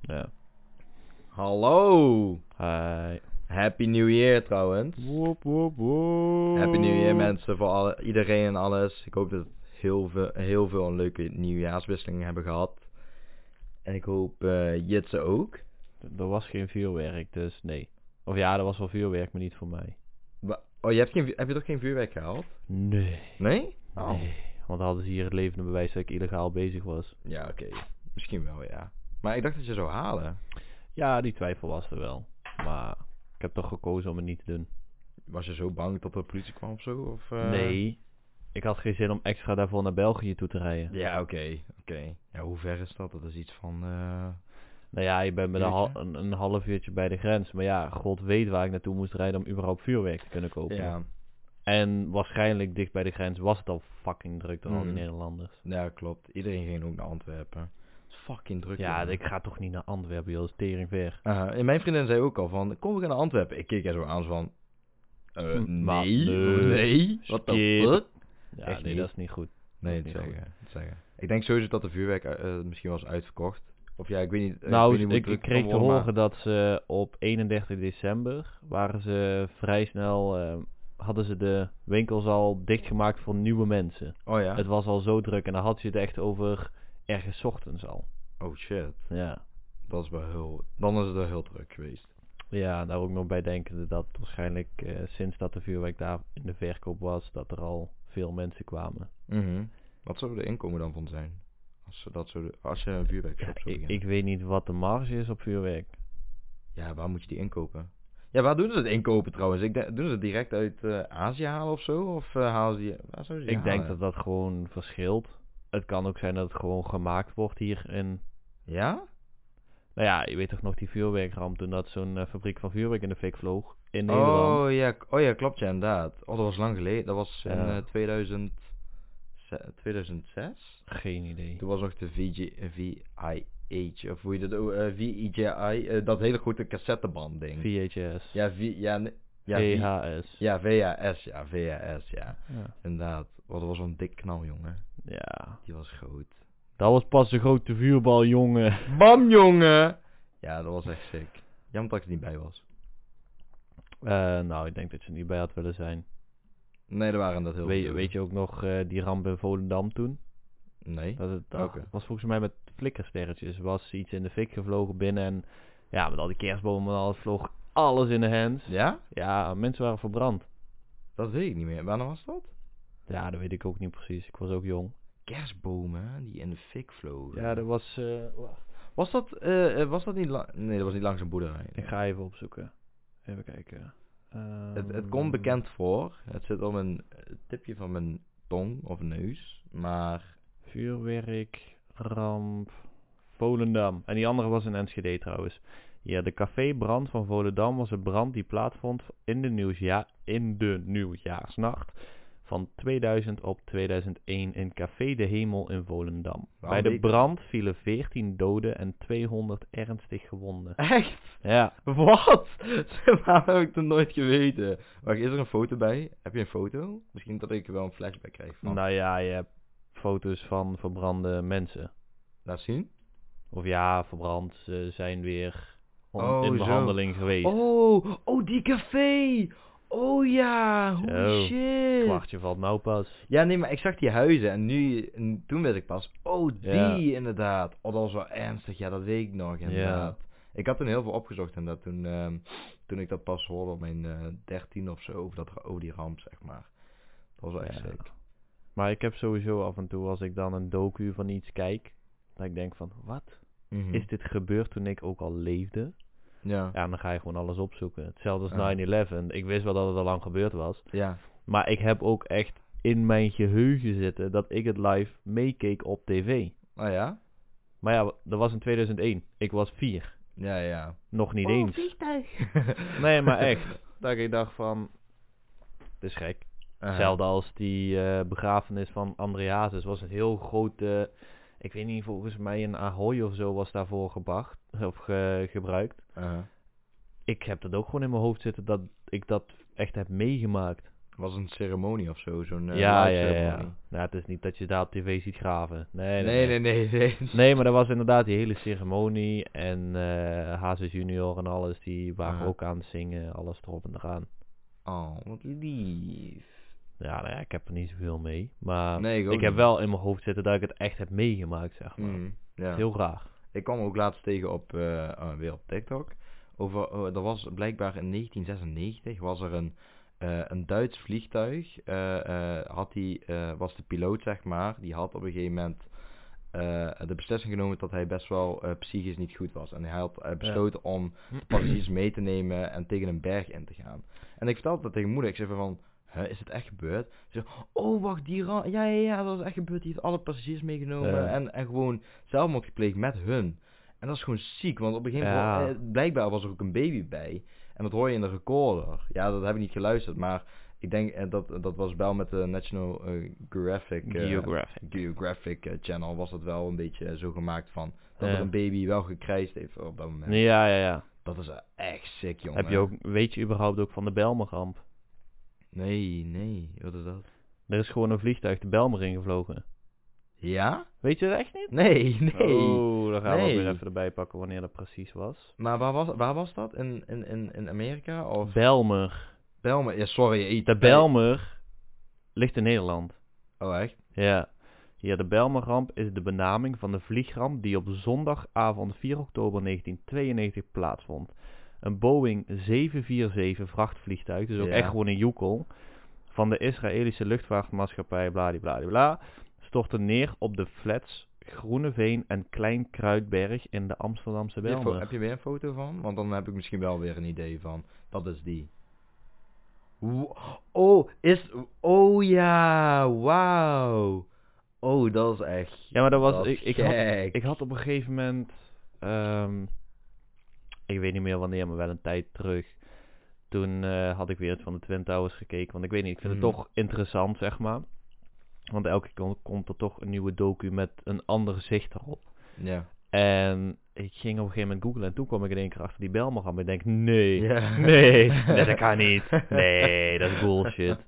Ja. Hallo! Hi. Happy New Year trouwens. Woep, woep, woep. Happy New Year mensen, voor alle, iedereen en alles. Ik hoop dat heel veel, heel veel een leuke nieuwjaarswisselingen hebben gehad. En ik hoop eh Jitse ook. D- Er was geen vuurwerk, dus nee. Of ja, er was wel vuurwerk, maar niet voor mij. Wa- Oh, je hebt, geen, vu- heb je toch geen vuurwerk gehaald? Nee. Nee? Oh. Nee. Want dan hadden ze hier het levende bewijs dat ik illegaal bezig was. Ja, oké. Misschien wel, ja. Maar ik dacht dat je zou halen. Ja, die twijfel was er wel. Maar ik heb toch gekozen om het niet te doen. Was je zo bang dat er politie kwam of zo? Of, eh? Nee. Ik had geen zin om extra daarvoor naar België toe te rijden. Ja, oké. oké. Ja, hoe ver is dat? Dat is iets van... eh, Nou ja, ik ben met een, hal- Uurtje? een, een half uurtje bij de grens. Maar ja, god weet waar ik naartoe moest rijden om überhaupt vuurwerk te kunnen kopen. Ja, En waarschijnlijk dicht bij de grens was het al fucking druk door al die Mhm. Nederlanders. ja, klopt. Iedereen ging ook naar Antwerpen. Het is fucking druk. Ja, jongen. ik ga toch niet naar Antwerpen, joh, dat is tering ver. Eh, en mijn vriendin zei ook al van, kom we gaan naar Antwerpen. Ik keek er zo aan zo van, eh, Hm, maar nee, nee. nee, wat de Skip. fuck? Ja, Echt nee, niet. dat is niet goed. Nee, Ook het niet zeggen, het zeggen. Ik denk sowieso dat de vuurwerk eh, eh, misschien was uitverkocht. Of ja, ik weet niet. eh, nou, weet niet ik, hoe ik druk het kreeg kan te worden, horen dat ze op 31 december waren ze vrij snel, eh, hadden ze de winkels al dichtgemaakt voor nieuwe mensen. maar- Oh ja? Het was al zo druk en dan had je het echt over ergens 's ochtends al. Oh shit, Ja. dat is wel heel... Dan is het wel heel druk geweest. Ja, daar ook nog bij denkende dat waarschijnlijk eh, sinds dat de vuurwerk daar in de verkoop was, dat er al veel mensen kwamen. Mhm. Wat zou de inkomen dan van zijn? Als, ze dat zo, als je een vuurwerkshop zou Ik, beginnen. ik weet niet wat de marge is op vuurwerk. Ja, waar moet je die inkopen? Ja, waar doen ze het inkopen trouwens? Ik denk, doen ze het direct uit eh, Azië halen of zo? Of eh, halen ze die... Waar zouden ze die Ik denk halen? dat dat gewoon verschilt. Het kan ook zijn dat het gewoon gemaakt wordt hier in... Ja? Nou ja, je weet toch nog die vuurwerkramp toen dat zo'n eh, fabriek van vuurwerk in de fik vloog in Nederland. Oh ja, k- oh ja, klopt ja, inderdaad. Oh, dat was lang geleden. Dat was in Ja. eh, 2000, ze- 2006. Geen idee. Toen was nog de VJ, eh, VIH, of hoe je dat ook, eh, VIJI, eh, dat hele grote cassetteband ding. VHS. ja, v, ja, nee, ja, V- VHS. ja, VHS, ja, VHS, ja. Ja. Inderdaad. Wat was zo'n dik knal, jongen. ja. Die was groot. Dat was pas een grote vuurbal, jongen. Bam, jongen! Ja, dat was echt sick. Jammer dat ik er niet bij was. Eh, nou, ik denk dat je er niet bij had willen zijn. Nee, er waren dat heel Weet, veel. weet je ook nog eh, die ramp in Volendam toen? Nee. Dat het, dat Welke? was volgens mij met flikkersterretjes. Er was iets in de fik gevlogen binnen en ja, met al die kerstbomen en alles vloog alles in de hands. Ja? Ja, mensen waren verbrand. Dat weet ik niet meer. Wanneer was dat? Ja, dat weet ik ook niet precies. Ik was ook jong. kerstbomen die in de fik vlogen. Ja, dat was... eh, wacht. Was dat, eh, eh, was dat niet lang... Nee, dat was niet langs een boerderij. ik ga even opzoeken. Even kijken. Het, het Ehm, komt bekend voor. Het zit op een eh, tipje van mijn tong of neus. Maar Vuurwerk, ramp, Volendam. En die andere was in Enschede trouwens. Ja, de cafébrand van Volendam was een brand die plaatsvond in de, nieuwsja in de nieuwjaarsnacht van 2000 op 2001 in Café de Hemel in Volendam. Waarom Bij de niet? brand vielen 14 doden en 200 ernstig gewonden. echt? Ja, Wat? Waarom heb ik dat nooit geweten? Wacht, is er een foto bij? Heb je een foto? Misschien dat ik wel een flashback krijg van. nou ja, je hebt foto's van verbrande mensen. Laat zien. Of ja, verbrand, ze zijn weer on- Oh, in zo. behandeling geweest. Oh, oh die café. Oh ja, holy Zo, shit. kwartje valt nou pas. Ja, nee, maar ik zag die huizen en nu, en toen werd ik pas, oh die Ja. inderdaad. Oh, dat was wel ernstig, ja, dat weet ik nog inderdaad. Ik had toen heel veel opgezocht inderdaad, toen, ehm, toen ik dat pas hoorde op mijn eh 13 of zo, over, dat, ra- over die ramp, zeg maar. Dat was wel echt Ja. sick. Maar ik heb sowieso af en toe, als ik dan een docu van iets kijk, dat ik denk van, wat? Mhm. Is dit gebeurd toen ik ook al leefde? Ja. Ja, dan ga je gewoon alles opzoeken. Hetzelfde Ja. als 9-11. Ik wist wel dat het al lang gebeurd was. Ja. Maar ik heb ook echt in mijn geheugen zitten dat ik het live meekeek op tv. Oh ja? Maar ja, dat was in 2001. Ik was vier. Ja, ja. Nog niet Oh, eens. Nee, maar echt. Dat ik dacht van, dit is gek. Eh, Hetzelfde als die eh, begrafenis van Andreasus. was een heel groot, eh, ik weet niet, volgens mij een Ahoy of zo was daarvoor gebracht, of ge- gebruikt. eh. Ik heb dat ook gewoon in mijn hoofd zitten, dat ik dat echt heb meegemaakt. was een ceremonie of zo, zo'n eh, ja, ja, ja, live-ceremonie. ja. Nou, het is niet dat je daar op tv ziet graven. Nee, Nee, nee, nee, nee. Nee, maar dat was inderdaad die hele ceremonie. En eh Hazes junior en alles, die waren Ah. ook aan het zingen. Alles erop en eraan. Oh, wat lief. Ja, nou ja, ik heb er niet zoveel mee. Maar Nee, ik ook ik heb niet. wel in mijn hoofd zitten dat ik het echt heb meegemaakt, zeg maar. Mm, ja. Heel raar. Ik kwam ook laatst tegen op, eh, eh, weer op TikTok. Over, eh, er was blijkbaar in 1996 was er een, eh, een Duits vliegtuig. eh, eh, had die, eh, was de piloot, zeg maar. Die had op een gegeven moment eh, de beslissing genomen dat hij best wel eh, psychisch niet goed was. En hij had eh, besloten om de passagiers mee te nemen en tegen een berg in te gaan. En ik vertelde dat tegen mijn moeder. Ik zei van, hè, is het echt gebeurd? Ze zei, oh wacht, die ram- ja, ja, ja, dat is echt gebeurd. Die heeft alle passagiers meegenomen Ja. en, en gewoon zelfmoord gepleegd met hun. En dat is gewoon ziek, want op een gegeven moment, Ja. eh, blijkbaar was er ook een baby bij. En dat hoor je in de recorder. Ja, dat heb ik niet geluisterd, maar ik denk eh, dat dat was wel met de National eh, Geographic, eh, Geographic. Geographic eh, Channel was dat wel een beetje eh, zo gemaakt van dat Ja. er een baby wel gekrijsd heeft op dat moment. Ja, ja, ja. Dat is eh, echt sick, jongen. Heb je ook, weet je überhaupt ook van de Belmer-ramp? Nee, nee, wat is dat? Er is gewoon een vliegtuig de Belmer ingevlogen. Ja? Weet je dat echt niet? Nee, nee. Oh, dan gaan we ook Nee. weer even erbij pakken wanneer dat precies was. Maar waar was, waar was dat? In, in, in, in Amerika? Of Belmer. Belmer? Ja, sorry. ik- De Belmer ligt in Nederland. Oh, echt? Ja. Ja, de Belmerramp is de benaming van de vliegramp die op zondagavond 4 oktober 1992 plaatsvond. Een Boeing 747 vrachtvliegtuig, dus ook Ja. echt gewoon een joekel, van de Israëlische luchtvaartmaatschappij bladibladibla, stortte neer op de flats Groeneveen en Klein Kruidberg in de Amsterdamse Heb je, fo- Belmer. heb je weer een foto van? Want dan heb ik misschien wel weer een idee van. Dat is die. Wo- Oh, is... Oh ja, wauw. Oh, dat is echt... Ja, maar dat was... dat ik, is ik, had, gek. ik had op een gegeven moment... ehm, ik weet niet meer wanneer, maar wel een tijd terug. Toen eh, had ik weer het van de Twin Towers gekeken. Want ik weet niet, ik vind Mhm. het toch interessant, zeg maar. Want elke keer komt er toch een nieuwe docu met een ander zicht erop. Ja. En ik ging op een gegeven moment googlen en toen kwam ik in één keer achter die Belmerham. Ik denk, nee, Ja. nee, nee, dat kan niet. Nee, dat is bullshit.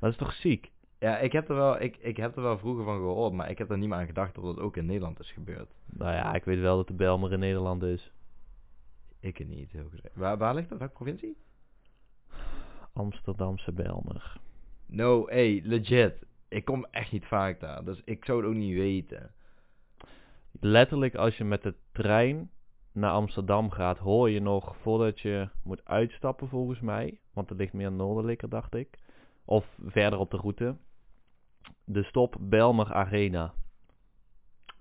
Dat is toch ziek? Ja, ik heb, er wel, ik, ik heb er wel vroeger van gehoord, maar ik heb er niet meer aan gedacht dat dat ook in Nederland is gebeurd. Nou ja, ik weet wel dat de Belmer in Nederland is. Ik het niet, heel gezegd. Waar, waar ligt dat? Welke provincie? Amsterdamse Belmer. No, hey, legit. Ik kom echt niet vaak daar, dus ik zou het ook niet weten. Letterlijk als je met de trein naar Amsterdam gaat, hoor je nog voordat je moet uitstappen volgens mij. Want het ligt meer noordelijker, dacht ik. Of verder op de route. De stop Belmer Arena.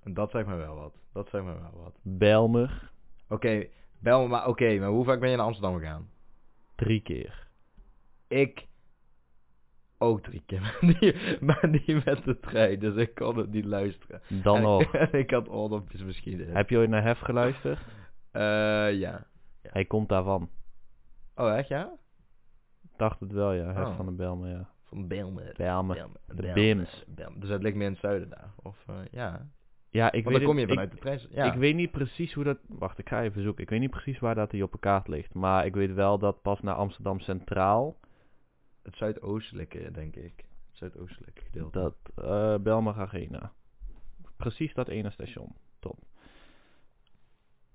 En dat zegt me wel wat. Dat zegt me wel wat. Belmer, Oké, bel me maar. Oké, maar hoe vaak ben je naar Amsterdam gegaan? drie keer. Ik ook drie keer, maar niet, maar niet met de trein, dus ik kon het niet luisteren. Dan En- nog. en ik had oordopjes misschien. in. Heb je ooit naar Hef geluisterd? Eh, ja. Hij komt daarvan. Oh, echt ja? Dacht het wel, ja. Hef Oh. van de Belmer, ja. Van Belmer. Belmer. Belmer, De Belmer, Bims. Belmer. Dus dat ligt meer in het zuiden daar. Of eh, ja. Ja, ik Want weet dan kom je het- ik- vanuit de trein. Ja. Ik weet niet precies hoe dat... Wacht, ik ga even zoeken. Ik weet niet precies waar dat hij op de kaart ligt. Maar ik weet wel dat pas naar Amsterdam Centraal... Het zuidoostelijke, denk ik. Het zuidoostelijke gedeelte. Dat eh Belmar Arena. Precies dat ene station. Top.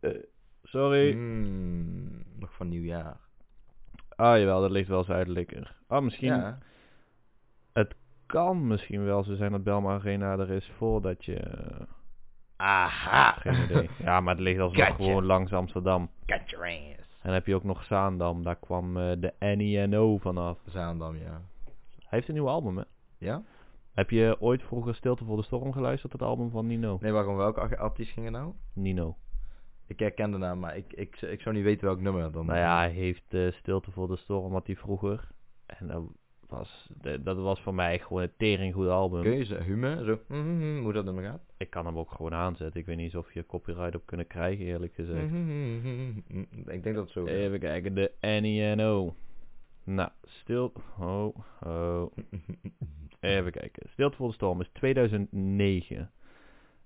Eh, sorry. Hmm. Mm, nog van nieuwjaar. Ah, jawel, dat ligt wel zuidelijker. Ah, misschien... Ja. Kan misschien wel zo zijn dat Belmar Arena er is voordat je... eh, Aha. Geen idee. ja, maar het ligt alsnog Gotcha. gewoon langs Amsterdam. En Got your ass. dan heb je ook nog Zaandam. Daar kwam eh, de NINO vanaf. Zaandam, ja. Hij heeft een nieuw album, hè? Ja? Heb je ooit vroeger Stilte voor de Storm geluisterd, het album van Nino? Nee, waarom? Welke ar- artiest ging er nou? Nino. Ik herken de naam, maar ik, ik, ik zou niet weten welk nummer dan. Nou ja, hij heeft eh, Stilte voor de Storm, had hij vroeger. En dat was, dat dat was voor mij gewoon een tering goed album. Kun je ze humen? Zo, mhm, hoe dat nummer gaat? Ik kan hem ook gewoon aanzetten. Ik weet niet eens of je copyright op kunnen krijgen, eerlijk gezegd. Hm, Mhm, Ik denk dat het zo gaat. Even kijken, de NINO. Nou, stil... Oh, oh. Even kijken. Stilte voor de Storm is 2009.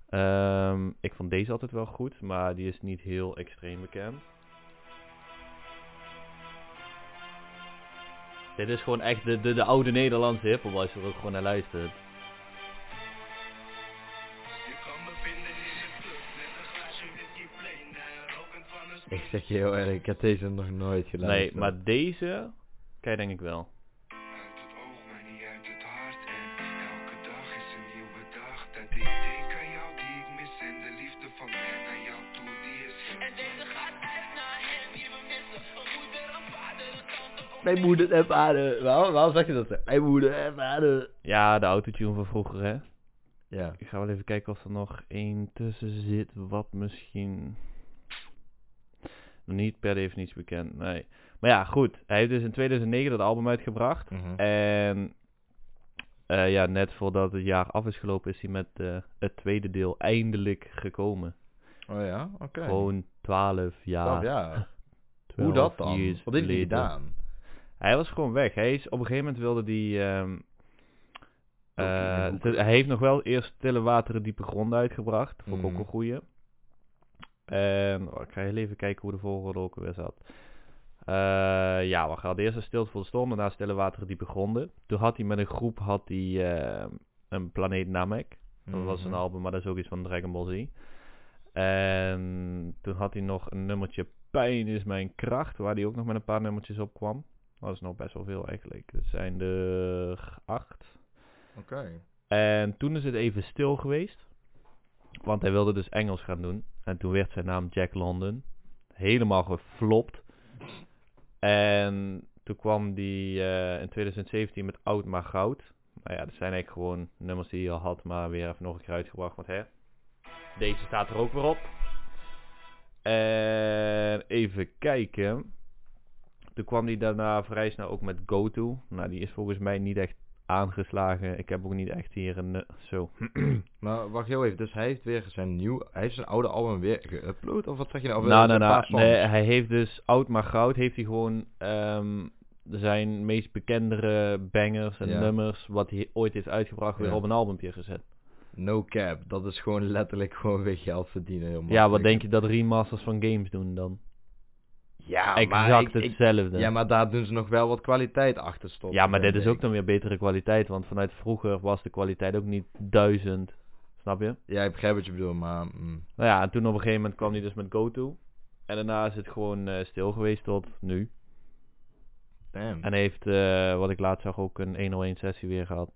Ehm, ik vond deze altijd wel goed, maar die is niet heel extreem bekend. Dit is gewoon echt de, de, de oude Nederlandse hiphop als je er ook gewoon naar luistert. Je kan me vinden in de club, net een glaasje whisky plain. eh, Rokend van een Ik zeg je heel eerlijk, ik heb deze nog nooit geluisterd. Nee, maar deze ken je denk ik wel. Uit het oog, maar niet uit het hart. En elke dag is een nieuwe dag. Dat ik denk aan jou die ik mis. En de liefde van mij naar jou toe die is. En deze gaat uit naar hem die we missen. Een moeder, een vader, een tante, een Mijn moeder en vader. Waarom, waarom zeg je dat? zo? Mijn moeder en vader. Ja, de autotune van vroeger, hè. Ja. Ik ga wel even kijken of er nog één tussen zit wat misschien nog niet per definitie bekend, nee. Maar ja, goed. Hij heeft dus in 2009 dat album uitgebracht. Mhm. En eh, ja, net voordat het jaar af is gelopen is hij met eh, het tweede deel eindelijk gekomen. Oh ja, oké. Gewoon 12 jaar. Snap, ja. 12 Hoe dat dan? years Wat heeft hij later. gedaan? Hij was gewoon weg. Hij is, op een gegeven moment wilde die. ehm, Ook in de eh, hoek. te- hij heeft nog wel eerst Stille Wateren Diepe Gronden uitgebracht. Vond ik ook Mhm. een goeie. En oh, ik ga heel even kijken hoe de volgorde ook weer zat. Eh, ja, we hadden eerst een Stilte voor de Storm, daarna Stille Wateren Diepe Gronden. Toen had hij met een groep had hij, ehm, een planeet Namek. Dat was een Mhm. album, maar dat is ook iets van Dragon Ball Z. En toen had hij nog een nummertje Pijn is mijn kracht, waar hij ook nog met een paar nummertjes op kwam. Dat is nog best wel veel eigenlijk. Het zijn er acht. Oké. En toen is het even stil geweest. Want hij wilde dus Engels gaan doen. En toen werd zijn naam Jack London. Helemaal geflopt. En toen kwam die eh, in 2017 met Oud maar Goud. Nou ja, dat zijn eigenlijk gewoon nummers die hij al had, maar weer even nog een keer uitgebracht. Want hè, deze staat er ook weer op. En even kijken. Toen kwam hij daarna vrij snel ook met GoTo. Nou, die is volgens mij niet echt aangeslagen. Ik heb ook niet echt hier een... eh, Zo. Maar wacht heel even, dus hij heeft weer zijn nieuw, hij heeft zijn oude album weer geüpload of wat zeg je nou? Of nou, een nou, nou. paar songs? Nee, hij heeft dus Oud maar Goud. Heeft hij gewoon ehm, zijn meest bekendere bangers en Ja. nummers... wat hij ooit heeft uitgebracht, weer Ja. op een albumpje gezet. No cap, dat is gewoon letterlijk gewoon weer geld verdienen. heel ja, wat makkelijk. denk je dat remasters van games doen dan? Ja, Ah, maar exact ik- ik- hetzelfde. ja, maar daar doen ze nog wel wat kwaliteit achter stoppen. Ja, maar dit vind is ik. ook dan weer betere kwaliteit, want vanuit vroeger was de kwaliteit ook niet duizend. Snap je? Ja, ik begrijp wat je bedoelt, maar... mm. Nou ja, en toen op een gegeven moment kwam hij dus met GoTo. En daarna is het gewoon eh, stil geweest tot nu. Damn. En hij heeft, eh, wat ik laatst zag, ook een 101 sessie weer gehad.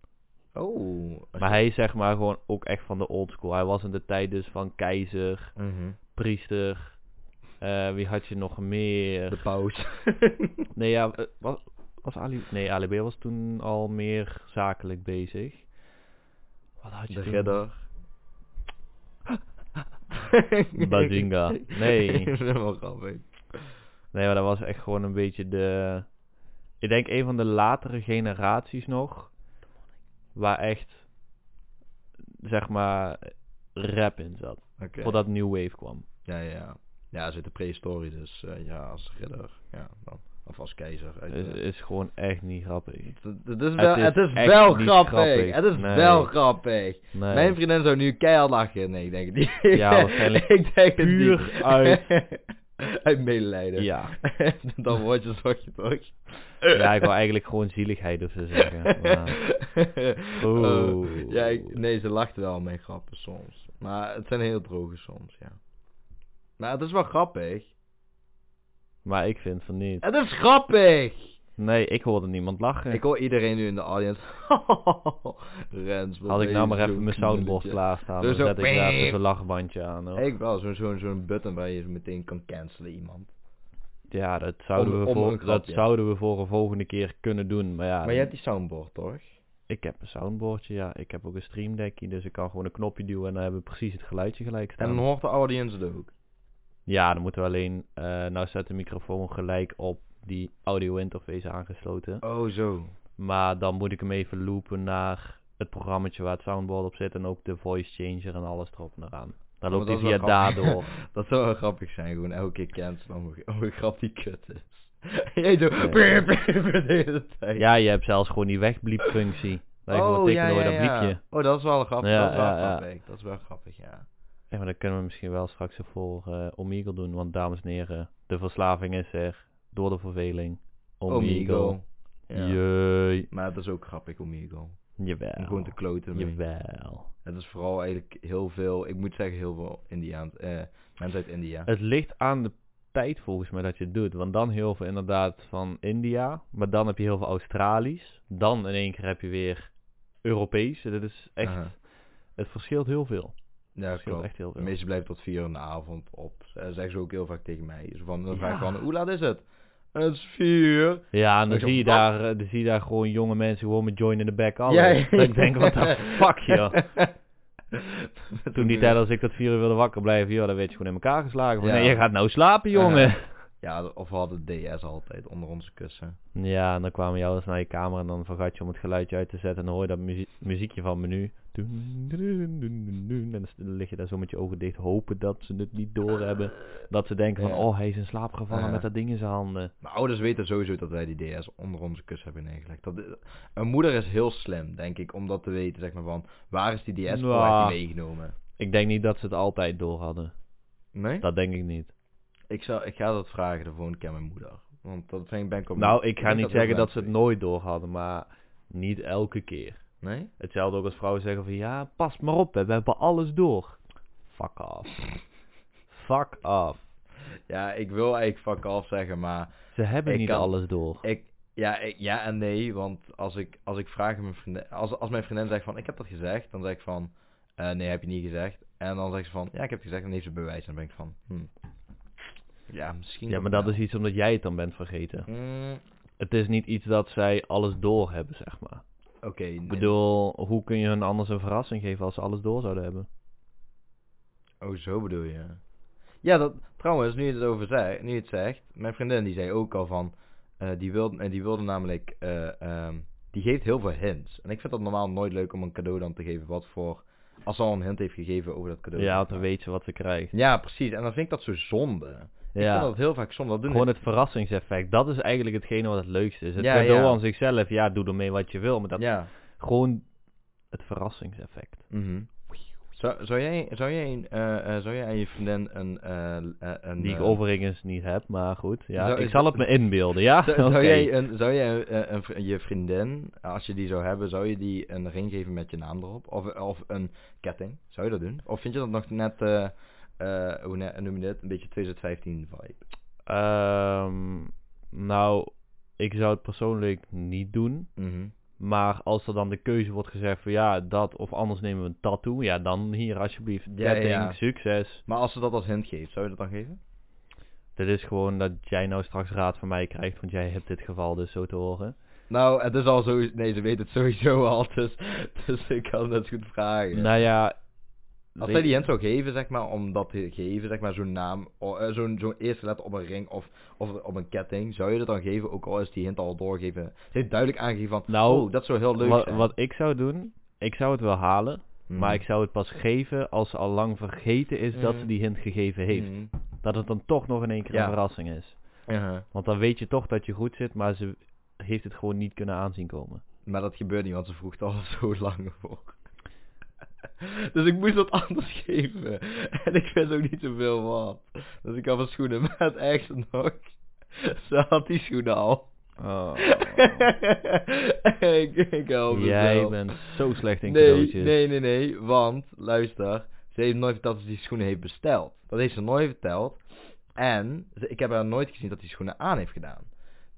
Oh. Maar hij is zeg maar gewoon ook echt van de old school. Hij was in de tijd dus van keizer, Mhm. priester. eh, wie had je nog meer? De pauze. Nee, ja, eh, was, was Ali... Nee, Ali B was toen al meer zakelijk bezig. Wat had je De toen? redder. Bazinga. Nee. dat is helemaal grappig. Nee, maar dat was echt gewoon een beetje de... Ik denk een van de latere generaties nog. Waar echt, zeg maar, rap in zat. Oké. Voordat New Wave kwam. Ja, ja, ja. Ja, hij zit de prehistorie, dus eh, ja, als ridder. Ja, dan. Of als keizer. uit Is, de- is gewoon echt niet grappig. Het- Het is wel, Eh, Het is het is echt wel niet grappig. grappig. Het is Nee. wel grappig. Nee. Mijn vriendin zou nu keihard lachen. Nee, ik denk het niet. Ja, waarschijnlijk ik denk het puur niet. uit- uit medelijden. Ja. Dan word je zo'n je toch. ja, ik wil eigenlijk gewoon zieligheid of zo zeggen. Maar... Oeh. Eh, ja, ik- nee, ze lacht wel aan mijn grappen soms. Maar het zijn heel droge soms, ja. Maar het is wel grappig. maar ik vind van niet. Het is grappig! Nee, ik hoorde niemand lachen. Ik hoor iedereen nu in de audience. Rens, wat Had ik ben nou je maar even zo'n mijn soundboard knullertje. klaarstaan, Dus dan zo- zet ik daar even zo'n lachbandje aan. hoor. Ik wel, zo'n zo'n zo'n button waar je meteen kan cancelen iemand. Ja, dat zouden, Om- we om voor, een dat grapje. zouden we voor een volgende keer kunnen doen. Maar ja, maar je hebt die soundboard toch? ik heb een soundboardje, ja. Ik heb ook een streamdeckje, dus ik kan gewoon een knopje duwen en dan hebben we precies het geluidje gelijk En staan. dan hoort de audience het ook. Ja, dan moeten we alleen... eh, nou staat de microfoon gelijk op die audio interface aangesloten. Oh, zo. Maar dan moet ik hem even loopen naar het programmaatje waar het soundboard op zit. En ook de voice changer en alles erop en eraan. Dan loopt hij Maar via Oh, dat is wel grappig. daardoor. Dat zou wel grappig zijn, gewoon elke keer cancelen om hoe- hoe grap die kut is. Jij zo... Nee. de hele tijd. Ja, je hebt zelfs gewoon die wegbliepfunctie. Dat je gewoon tikken door dat bliepje. Oh, dat is wel grappig. Ja, dat is wel ja, ja. grappig. Dat is wel grappig, ja. Ja, maar dat kunnen we misschien wel straks voor eh Omegle doen. Want dames en heren, de verslaving is er. Door de verveling. Omegle. Ja. Jee. Maar dat is ook grappig om hier gewoon. Om Jawel. gewoon te kloten. mee. Jawel. Het is vooral eigenlijk heel veel, ik moet zeggen heel veel Indiaans, eh, mensen uit India. Het ligt aan de tijd volgens mij dat je het doet. Want dan heel veel inderdaad van India. Maar dan heb je heel veel Australisch. Dan in één keer heb je weer Europees. Dat is echt... Aha. Het verschilt heel veel. Ja, Het verschilt klopt. echt heel De veel. meeste blijven tot vier uur in de avond op. Eh, Zeggen ze ook heel vaak tegen mij. Zo van, dan Ja. vraag ik van, hoe laat is het? Het is vier uur. Ja, en dan Weet je zie, je wat? daar, eh, dan zie je daar gewoon jonge mensen gewoon met join in the back alles. Ja, Dat ik denk, wat de fuck joh. Toen die tijd als ik tot vier uur wilde wakker blijven, joh, dan werd je gewoon in elkaar geslagen. Van, Ja. Nee, je gaat nou slapen jongen. Ja, of we hadden DS altijd onder onze kussen. Ja, en dan kwamen jou eens naar je kamer en dan vergat je om het geluidje uit te zetten. En dan hoor je dat muzie- muziekje van menu. Doen, doen, doen, doen, doen. En dan s- dan lig je daar zo met je ogen dicht, hopen dat ze het niet doorhebben. Dat ze denken van, Ja. oh, hij is in slaap gevallen Ja. met dat ding in zijn handen. Mijn ouders weten sowieso dat wij die DS onder onze kussen hebben neergelegd. Dat, een moeder is heel slim, denk ik, om dat te weten, zeg maar, van, waar is die DS voor, waar Nou. is die meegenomen? Ik denk niet dat ze het altijd door hadden. Nee? Dat denk ik niet. Ik, zou, ik ga dat vragen de volgende keer aan mijn moeder. Want dat vind ik, ben ik op- Nou, ik ga denk niet heel zeggen dat ze het mensen nooit door hadden, maar niet elke keer. weten. Nee? Hetzelfde ook als vrouwen zeggen van, ja, pas maar op, hè, we hebben alles door. Fuck off. Fuck off. Ja, ik wil eigenlijk fuck off zeggen, maar Ze hebben Ik niet kan- alles door. ik... Ja, ik- ja en nee, want als ik, als ik vraag aan mijn vriendin... Als, als mijn vriendin zegt van, ik heb dat gezegd, dan zeg ik van... eh, nee, heb je niet gezegd. En dan zegt ze van, ja, ik heb het gezegd. En dan heeft ze bewijs. En dan ben ik van, hm. Ja, misschien... Ja, toch maar dat wel. is iets omdat jij het dan bent vergeten. Mm, Het is niet iets dat zij alles door hebben, zeg maar. Oké, nee. Ik bedoel, hoe kun je hun anders een verrassing geven als ze alles door zouden hebben? Oh, zo bedoel je. Ja, dat, trouwens, nu je het over zegt, nu je het zegt, mijn vriendin die zei ook al van, eh, die, wilde, eh, die wilde namelijk, eh, ehm, die geeft heel veel hints. En ik vind dat normaal nooit leuk om een cadeau dan te geven wat voor, als ze al een hint heeft gegeven over dat cadeau. Ja, want dan weet ze wat ze krijgt. Ja, precies. En dan vind ik dat zo zonde. Ik vind Ja, dat heel vaak zonde. Dat doen gewoon het verrassingseffect. Dat is eigenlijk hetgene wat het leukste is. Het Ja, cadeau ja. aan zichzelf, ja, doe ermee wat je wil. Maar dat Ja. gewoon het verrassingseffect. mhm. Zou, zou jij, zou jij, een, eh, eh, zou jij aan je vriendin een, eh, eh, een Die ik eh, overigens niet heb, maar goed. Ja, Zou- ik zal het me inbeelden, ja? Zou, Oké. zou jij, een, zou jij eh, een vri- je vriendin, als je die zou hebben, zou je die een ring geven met je naam erop? Of, of een ketting? Zou je dat doen? Of vind je dat nog net, eh, eh, hoe ne- noem je dit, een beetje 2015 vibe? Ehm, nou, ik zou het persoonlijk niet doen. Mhm. Maar als er dan de keuze wordt gezegd van ja, dat of anders nemen we een tattoo. Ja, dan hier alsjeblieft. Ja, ja, Ketting, ja. succes. Maar als ze dat als hint geeft, zou je dat dan geven? Dit is gewoon dat jij nou straks raad van mij krijgt, want jij hebt dit geval dus zo te horen. Nou, het is al zo, nee, ze weet het sowieso al, dus, dus ik kan het goed vragen. Nou ja... Als weet- zij die hint zou geven, zeg maar, om dat te geven, zeg maar, zo'n naam, o- eh, zo'n zo'n eerste letter op een ring of, of op een ketting, zou je dat dan geven, ook al is die hint al doorgegeven? Ze heeft duidelijk aangegeven van, Nou, oh, dat zou heel leuk Mm. wat, zijn. wat ik zou doen, ik zou het wel halen, maar ik zou het pas geven als ze al lang vergeten is dat Mhm. ze die hint gegeven heeft. Mm. Dat het dan toch nog in één keer Ja. een verrassing is. Aha. Want dan weet je toch dat je goed zit, maar ze heeft het gewoon niet kunnen aanzien komen. Maar dat gebeurt niet, want ze vroeg het al zo lang voor. Dus ik moest dat anders geven. En ik vind ook niet zoveel wat. Dus ik had mijn schoenen, maar het ergste nog. Ze had die schoenen al. Oh. Oh. ik, ik help Jij mezelf. bent zo slecht in nee, cadeautjes. nee, nee, nee, want, luister, ze heeft nooit verteld dat ze die schoenen heeft besteld. Dat heeft ze nooit verteld. En ze- ik heb haar nooit gezien dat die schoenen aan heeft gedaan.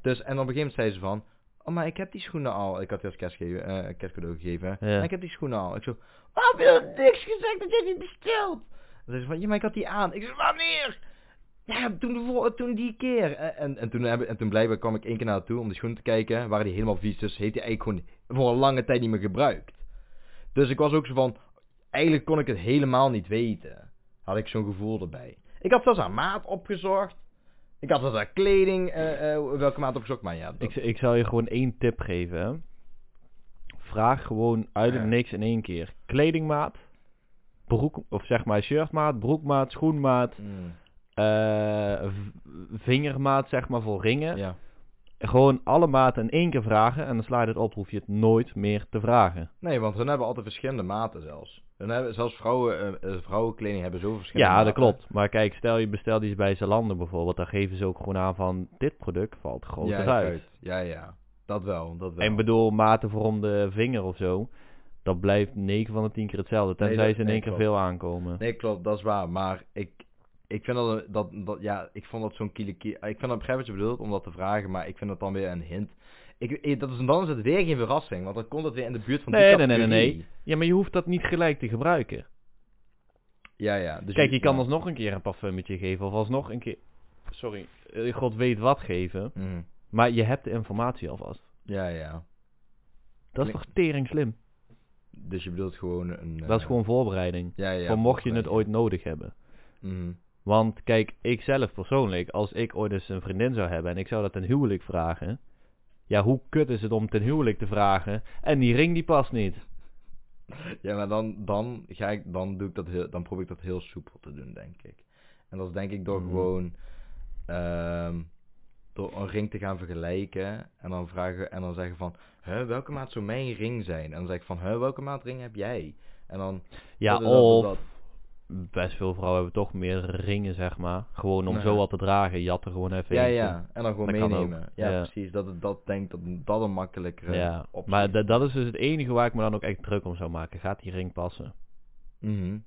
Dus, en op een gegeven moment zei ze van, oh, maar ik heb die schoenen al. Ik had die als kerst gegeven, eh, kerstcadeau gegeven. Maar ik heb die schoenen al. Ik zo, waarom heb je dan niks gezegd dat jij die besteld? En zei ze van, ja, maar ik had die aan. Ik zo, wanneer? Ja, toen, de vol- toen die keer. Eh, En, en, toen heb, en toen blijkbaar kwam ik één keer naar haar toe om de schoenen te kijken. Waren die helemaal vies, dus heeft die eigenlijk gewoon voor een lange tijd niet meer gebruikt. Dus ik was ook zo van, eigenlijk kon ik het helemaal niet weten. Had ik zo'n gevoel erbij. Ik had zelfs haar maat opgezocht. Ik had zelfs haar kleding, eh, eh, welke maat opgezocht. Maar ja, dat- Ik, ik zou je gewoon één tip geven. hè. Vraag gewoon uit het Ja. niks in één keer. Kledingmaat, broek, of zeg maar shirtmaat, broekmaat, schoenmaat, Mm, eh, v- vingermaat zeg maar voor ringen. ja. Gewoon alle maten in één keer vragen en dan sla je het op, hoef je het nooit meer te vragen. Nee, want hun hebben altijd verschillende maten zelfs. Hun hebben, zelfs vrouwen, eh, eh, vrouwenkleding hebben zo verschillende Ja, dat maten. klopt. Maar kijk, stel je bestelt iets bij Zalando bijvoorbeeld, dan geven ze ook gewoon aan van dit product valt groter ja, uit. Ja, ja. Dat wel, dat wel. En bedoel, maten voor om de vinger of zo. Dat blijft 9 van de 10 keer hetzelfde. Nee, Tenzij dat- ze in nee, één keer klopt. veel aankomen. Nee, klopt, dat is waar. Maar ik, ik vind dat, een- dat, dat, ja, ik vond dat zo'n kiele kie- Ik vind dat begrijp wat je bedoelt om dat te vragen, maar ik vind dat dan weer een hint. Ik, ik- dat is, dan is het weer geen verrassing, want dan komt het weer in de buurt van Nee, die nee, nee, nee, categorie. nee. Ja, maar je hoeft dat niet gelijk te gebruiken. Ja, ja. Dus Kijk, je kan ja. alsnog een keer een parfummetje geven. Of alsnog een keer... Sorry. eh, God weet wat geven. Mhm. Maar je hebt de informatie alvast. Ja, ja. Dat is Klinkt- toch tering slim? Dus je bedoelt gewoon een... Dat eh, is gewoon voorbereiding. Ja, ja. voor mocht je het voorbereiding. ooit nodig hebben. Mhm. Want kijk, ik zelf persoonlijk, als ik ooit eens een vriendin zou hebben en ik zou dat ten huwelijk vragen. Ja, hoe kut is het om ten huwelijk te vragen en die ring die past niet? Ja, maar dan, dan, ga ik, dan, doe ik dat heel, dan probeer ik dat heel soepel te doen, denk ik. En dat is denk ik door Mhm. gewoon ehm, door een ring te gaan vergelijken en dan vragen en dan zeggen van, hè, welke maat zou mijn ring zijn? En dan zeg ik van, hè, welke maat ring heb jij? En dan, Ja, dat is dat, dat is of dat. best veel vrouwen hebben toch meer ringen, zeg maar. Gewoon om Ja. zo wat te dragen, je had er gewoon even ja, eentje. ja, en dan gewoon Dat kan meenemen. ook, Ja, ja. precies. Dat, het- dat denk dat dat een makkelijkere Ja, optie maar is. da- dat is dus het enige waar ik me dan ook echt druk om zou maken. Gaat die ring passen? Mhm.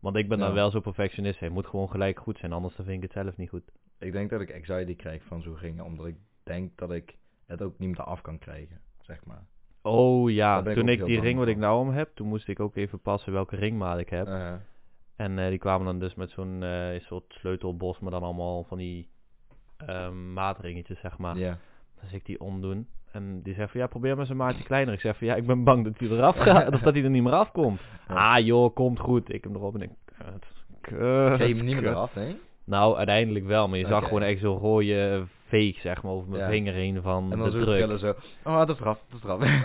Want ik ben Ja. dan wel zo perfectionist. Het moet gewoon gelijk goed zijn, anders dan vind ik het zelf niet goed. Ik denk dat ik anxiety krijg van zo'n ringen, omdat ik denk dat ik het ook niet meer af kan krijgen, zeg maar. Oh ja, Daar ben ik toen ook ik heel die bang ring wat voor. ik nou om heb, toen moest ik ook even passen welke ringmaat ik heb. Eh, En eh, die kwamen dan dus met zo'n eh, soort sleutelbos, maar dan allemaal van die eh, maatringetjes, zeg maar. ja. Dus ik die omdoen. En die zegt van, ja, probeer maar eens een maatje kleiner. Ik zeg van, ja, ik ben bang dat hij eraf gaat, of dat hij er niet meer afkomt. Ja. Ah joh, komt goed. Ik hem erop en ik, kut, kut, Geef hem niet meer kut. af, hè? Nou, uiteindelijk wel, maar je Oké. zag gewoon echt zo'n rode veeg, zeg maar, over mijn Ja. vinger heen van En de dan zo druk. trillen zo. Oh, dat is eraf, dat is eraf.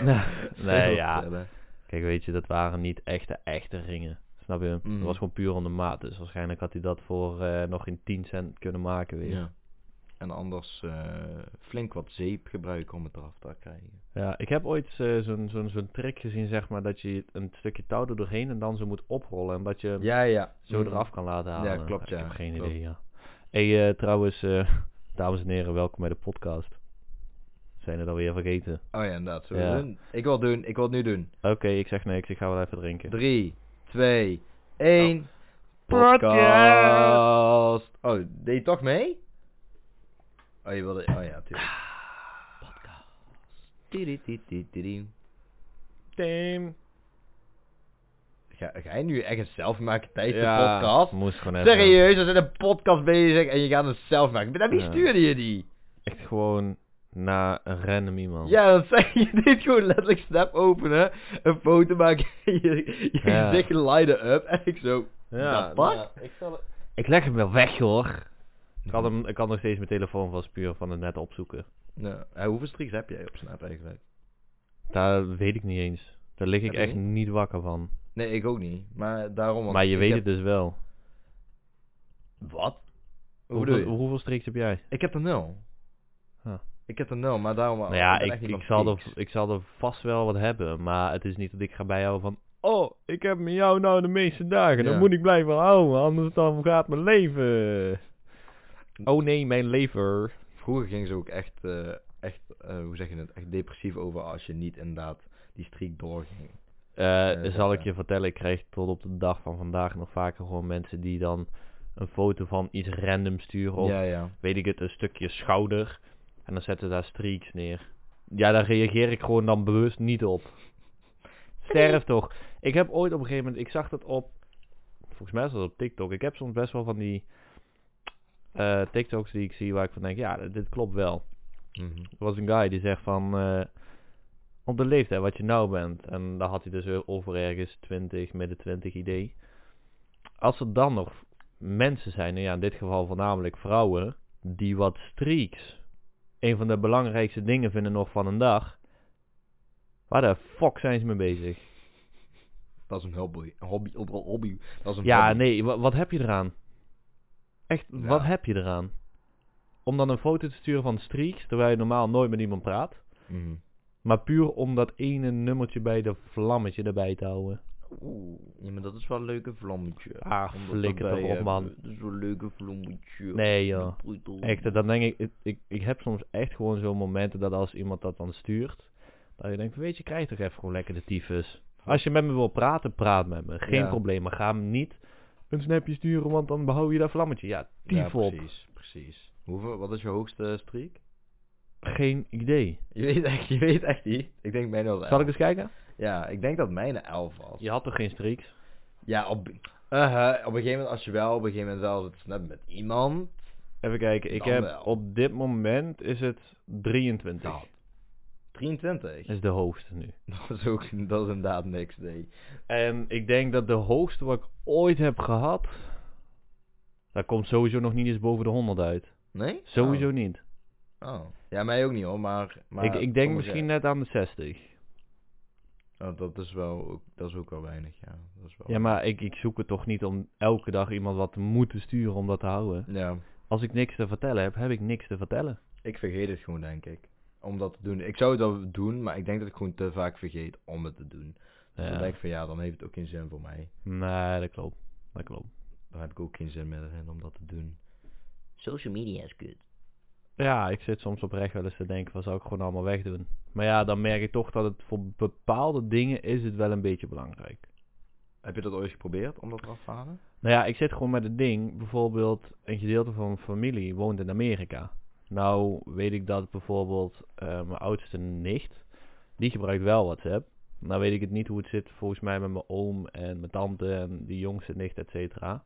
nee, Zo ja. trillen. Kijk, weet je, dat waren niet echte, echte ringen. Snap je? Mhm. Dat was gewoon puur om de maat. Dus waarschijnlijk had hij dat voor eh, nog in 10 cent kunnen maken weer. Ja. En anders eh, flink wat zeep gebruiken om het eraf te krijgen. Ja, ik heb ooit eh, zo'n zo'n zo'n trick gezien, zeg maar, dat je een stukje touw er doorheen en dan zo moet oprollen. En dat je hem Ja, ja. zo eraf kan laten Ja, halen. klopt, Ik ja, heb geen klopt. idee, Mhm. ja. Hey, eh, trouwens, eh, dames en heren, welkom bij de podcast. Zijn het alweer vergeten? Oh ja, inderdaad. Zullen we Ja. doen? Ik wil het doen, ik wil het nu doen. Oké, ik zeg niks, ik ga wel even drinken. 3, 2, 1. Oh. Podcast. Podcast. Oh, deed je toch mee? Oh, je wilde. Oh ja, tuurlijk. Podcast. Team. Ga, ga jij nu echt een zelf maken tijdens Ja, de podcast? Moest gewoon even. Serieus, we zijn een podcast bezig en je gaat het zelf maken. Maar naar wie Ja. stuurde je die? Echt gewoon naar een random iemand. Ja, dat zei je. Je deed gewoon letterlijk snap openen, een foto maken, je, je Ja. gezicht lighten up en ik zo. Ja, dat past. nou, ik, zal... ik leg hem wel weg, hoor. Ik kan, hem, ik kan nog steeds mijn telefoon van puur van het net opzoeken. Nou, eh, hoeveel streaks heb jij op Snap eigenlijk? Daar weet ik niet eens. Daar lig ik Heb je echt niet? niet wakker van. Nee, ik ook niet. Maar daarom... want Maar je ik weet heb- het dus wel. Wat? Hoe bedoel Hoeveel, je? hoeveel streaks heb jij? Ik heb er nul. Huh. Ik heb er nul, maar daarom... nou ja, ben ik, echt niet ik, van zal er, streaks. ik zal er vast wel wat hebben. Maar het is niet dat ik ga bijhouden van... Oh, ik heb met jou nou de meeste dagen. Ja. Dan moet ik blijven houden. Anders dan gaat mijn leven. Oh nee, mijn lever. Vroeger ging ze ook echt, eh, echt eh, hoe zeg je het, echt depressief over als je niet inderdaad die streak doorging. Eh, Eh, zal dat, ik ja. je vertellen, ik krijg tot op de dag van vandaag nog vaker gewoon mensen die dan een foto van iets random sturen. Of Ja, ja. weet ik het, een stukje schouder. En dan zetten ze daar streaks neer. Ja, daar reageer ik gewoon dan bewust niet op. Sterf toch. Ik heb ooit op een gegeven moment, ik zag dat op, volgens mij is dat op TikTok. Ik heb soms best wel van die eh, TikToks die ik zie waar ik van denk, ja, dit klopt wel. Mhm. Er was een guy die zegt van... eh, op de leeftijd wat je nou bent. En daar had hij dus over ergens 20, midden 20 idee. Als er dan nog mensen zijn, nou ja, in dit geval voornamelijk vrouwen... die wat streaks een van de belangrijkste dingen vinden nog van een dag... waar de fuck zijn ze mee bezig? Dat is een hobby. Een hobby, een hobby. Dat is een Ja, hobby. nee, wa- wat heb je eraan? Echt, Ja. wat heb je eraan? Om dan een foto te sturen van streaks... terwijl je normaal nooit met iemand praat... Mhm. Maar puur om dat ene nummertje bij de vlammetje erbij te houden. Oeh, ja, maar dat is wel een leuke vlammetje. Ah, Omdat flikker dat toch wij op, man. hebben. Dat is wel een leuke vlammetje. Nee, joh. Die brutal. Echt, dan denk ik, ik- ik, ik heb soms echt gewoon zo'n momenten dat als iemand dat dan stuurt, dat je denkt, van, weet je, krijg toch even gewoon lekker de tyfus. Als je met me wil praten, praat met me. Geen Ja. probleem, maar ga me niet een snapje sturen, want dan behoud je dat vlammetje. Ja, Ja, tief op. precies, precies. Hoeveel, wat is je hoogste eh, streak? Geen idee. Je weet echt, je weet echt niet. Ik denk mijn was Zal ik 11. eens kijken? Ja, ik denk dat mijn 11 was. Je had toch geen streaks? Ja, op, eh, eh, op een gegeven moment, als je wel op een gegeven moment wel zit snappen met iemand. Even kijken, ik Dan heb wel. op dit moment is het 23. Nou, 23. is de hoogste nu. Dat is ook, dat is inderdaad niks, nee. En ik denk dat de hoogste wat ik ooit heb gehad, daar komt sowieso nog niet eens boven de 100 uit. Nee? Sowieso niet. Oh. Oh. Ja, mij ook niet hoor, maar... maar ik, ik denk sommige- misschien net aan de 60. Oh, dat is wel, ook- dat is ook wel weinig, ja. Dat is wel... Ja, maar ik, ik zoek het toch niet om elke dag iemand wat te moeten sturen om dat te houden. Ja, Als ik niks te vertellen heb, heb ik niks te vertellen. ik vergeet het gewoon, denk ik. Om dat te doen. Ik zou het wel doen, maar ik denk dat ik gewoon te vaak vergeet om het te doen. Dus Ja. dan denk ik van, ja, dan heeft het ook geen zin voor mij. Nee, dat klopt. Dat klopt. Dan heb ik ook geen zin meer erin om dat te doen. Social media is kut. Ja, ik zit soms oprecht wel eens te denken van zou ik gewoon allemaal wegdoen. Maar ja, dan merk ik toch dat het voor bepaalde dingen is het wel een beetje belangrijk. Heb je dat ooit geprobeerd, om dat eraf te halen? Nou ja, ik zit gewoon met het ding. Bijvoorbeeld, een gedeelte van mijn familie woont in Amerika. Nou weet ik dat bijvoorbeeld eh, mijn oudste nicht, die gebruikt wel WhatsApp. Nou weet ik het niet hoe het zit volgens mij met mijn oom en mijn tante en die jongste nicht, et cetera.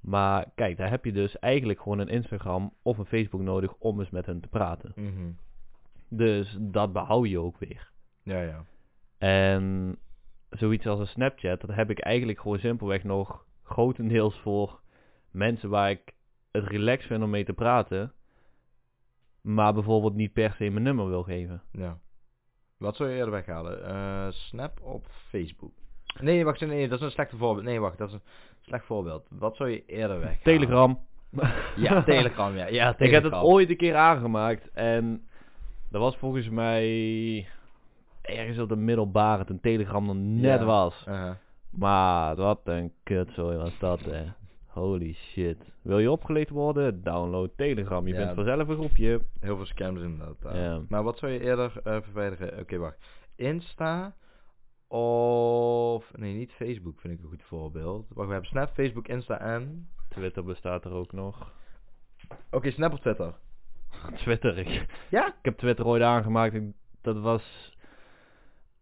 Maar kijk, daar heb je dus eigenlijk gewoon een Instagram of een Facebook nodig om eens met hen te praten. Mhm. Dus dat behoud je ook weer. Ja, ja. En zoiets als een Snapchat, dat heb ik eigenlijk gewoon simpelweg nog grotendeels voor mensen waar ik het relax vind om mee te praten. Maar bijvoorbeeld niet per se mijn nummer wil geven. Ja. Wat zou je eerder weghalen? Eh, Snap op Facebook. Nee, wacht, nee, dat is een slecht voorbeeld. Nee, wacht, dat is een slecht voorbeeld. Wat zou je eerder weghalen? Telegram. Ja, Telegram, ja. ja Telegram. Ik heb het ooit een keer aangemaakt. En dat was volgens mij ergens op de middelbare toen Telegram nog net Ja. was. Uh-huh. Maar wat een kutzooi was dat, hè. Holy shit. Wil je opgeleid worden? Download Telegram. Je Ja. bent vanzelf een groepje. Heel veel scams inderdaad. daar. Ja. Maar wat zou je eerder eh, verwijderen? Oké, wacht. Insta of... Nee, niet Facebook vind ik een goed voorbeeld. Wacht, we hebben Snap, Facebook, Insta en... Twitter bestaat er ook nog. Oké, Snap of Twitter? Twitter. Ik, Ja? ik heb Twitter ooit aangemaakt. Ik- Dat was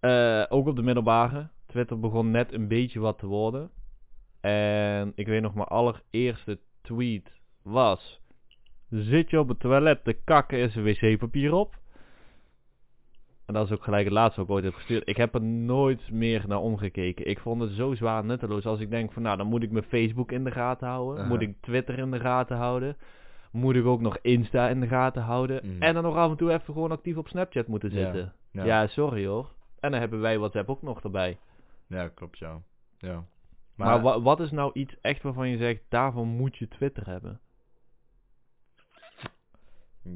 eh, ook op de middelbare. Twitter begon net een beetje wat te worden. En ik weet nog, mijn allereerste tweet was... Zit je op het toilet te kakken, is er wc-papier op? En dat is ook gelijk het laatste wat ik ooit heb gestuurd. Ik heb er nooit meer naar omgekeken. Ik vond het zo zwaar nutteloos als ik denk van... Nou, dan moet ik mijn Facebook in de gaten houden. Aha. Moet ik Twitter in de gaten houden. Moet ik ook nog Insta in de gaten houden. Mhm. En dan nog af en toe even gewoon actief op Snapchat moeten Ja. zitten. Ja, ja. Ja, sorry hoor. En dan hebben wij WhatsApp ook nog erbij. klopt, ja. Ja. Maar, wa- wat is nou iets echt waarvan je zegt, daarvan moet je Twitter hebben?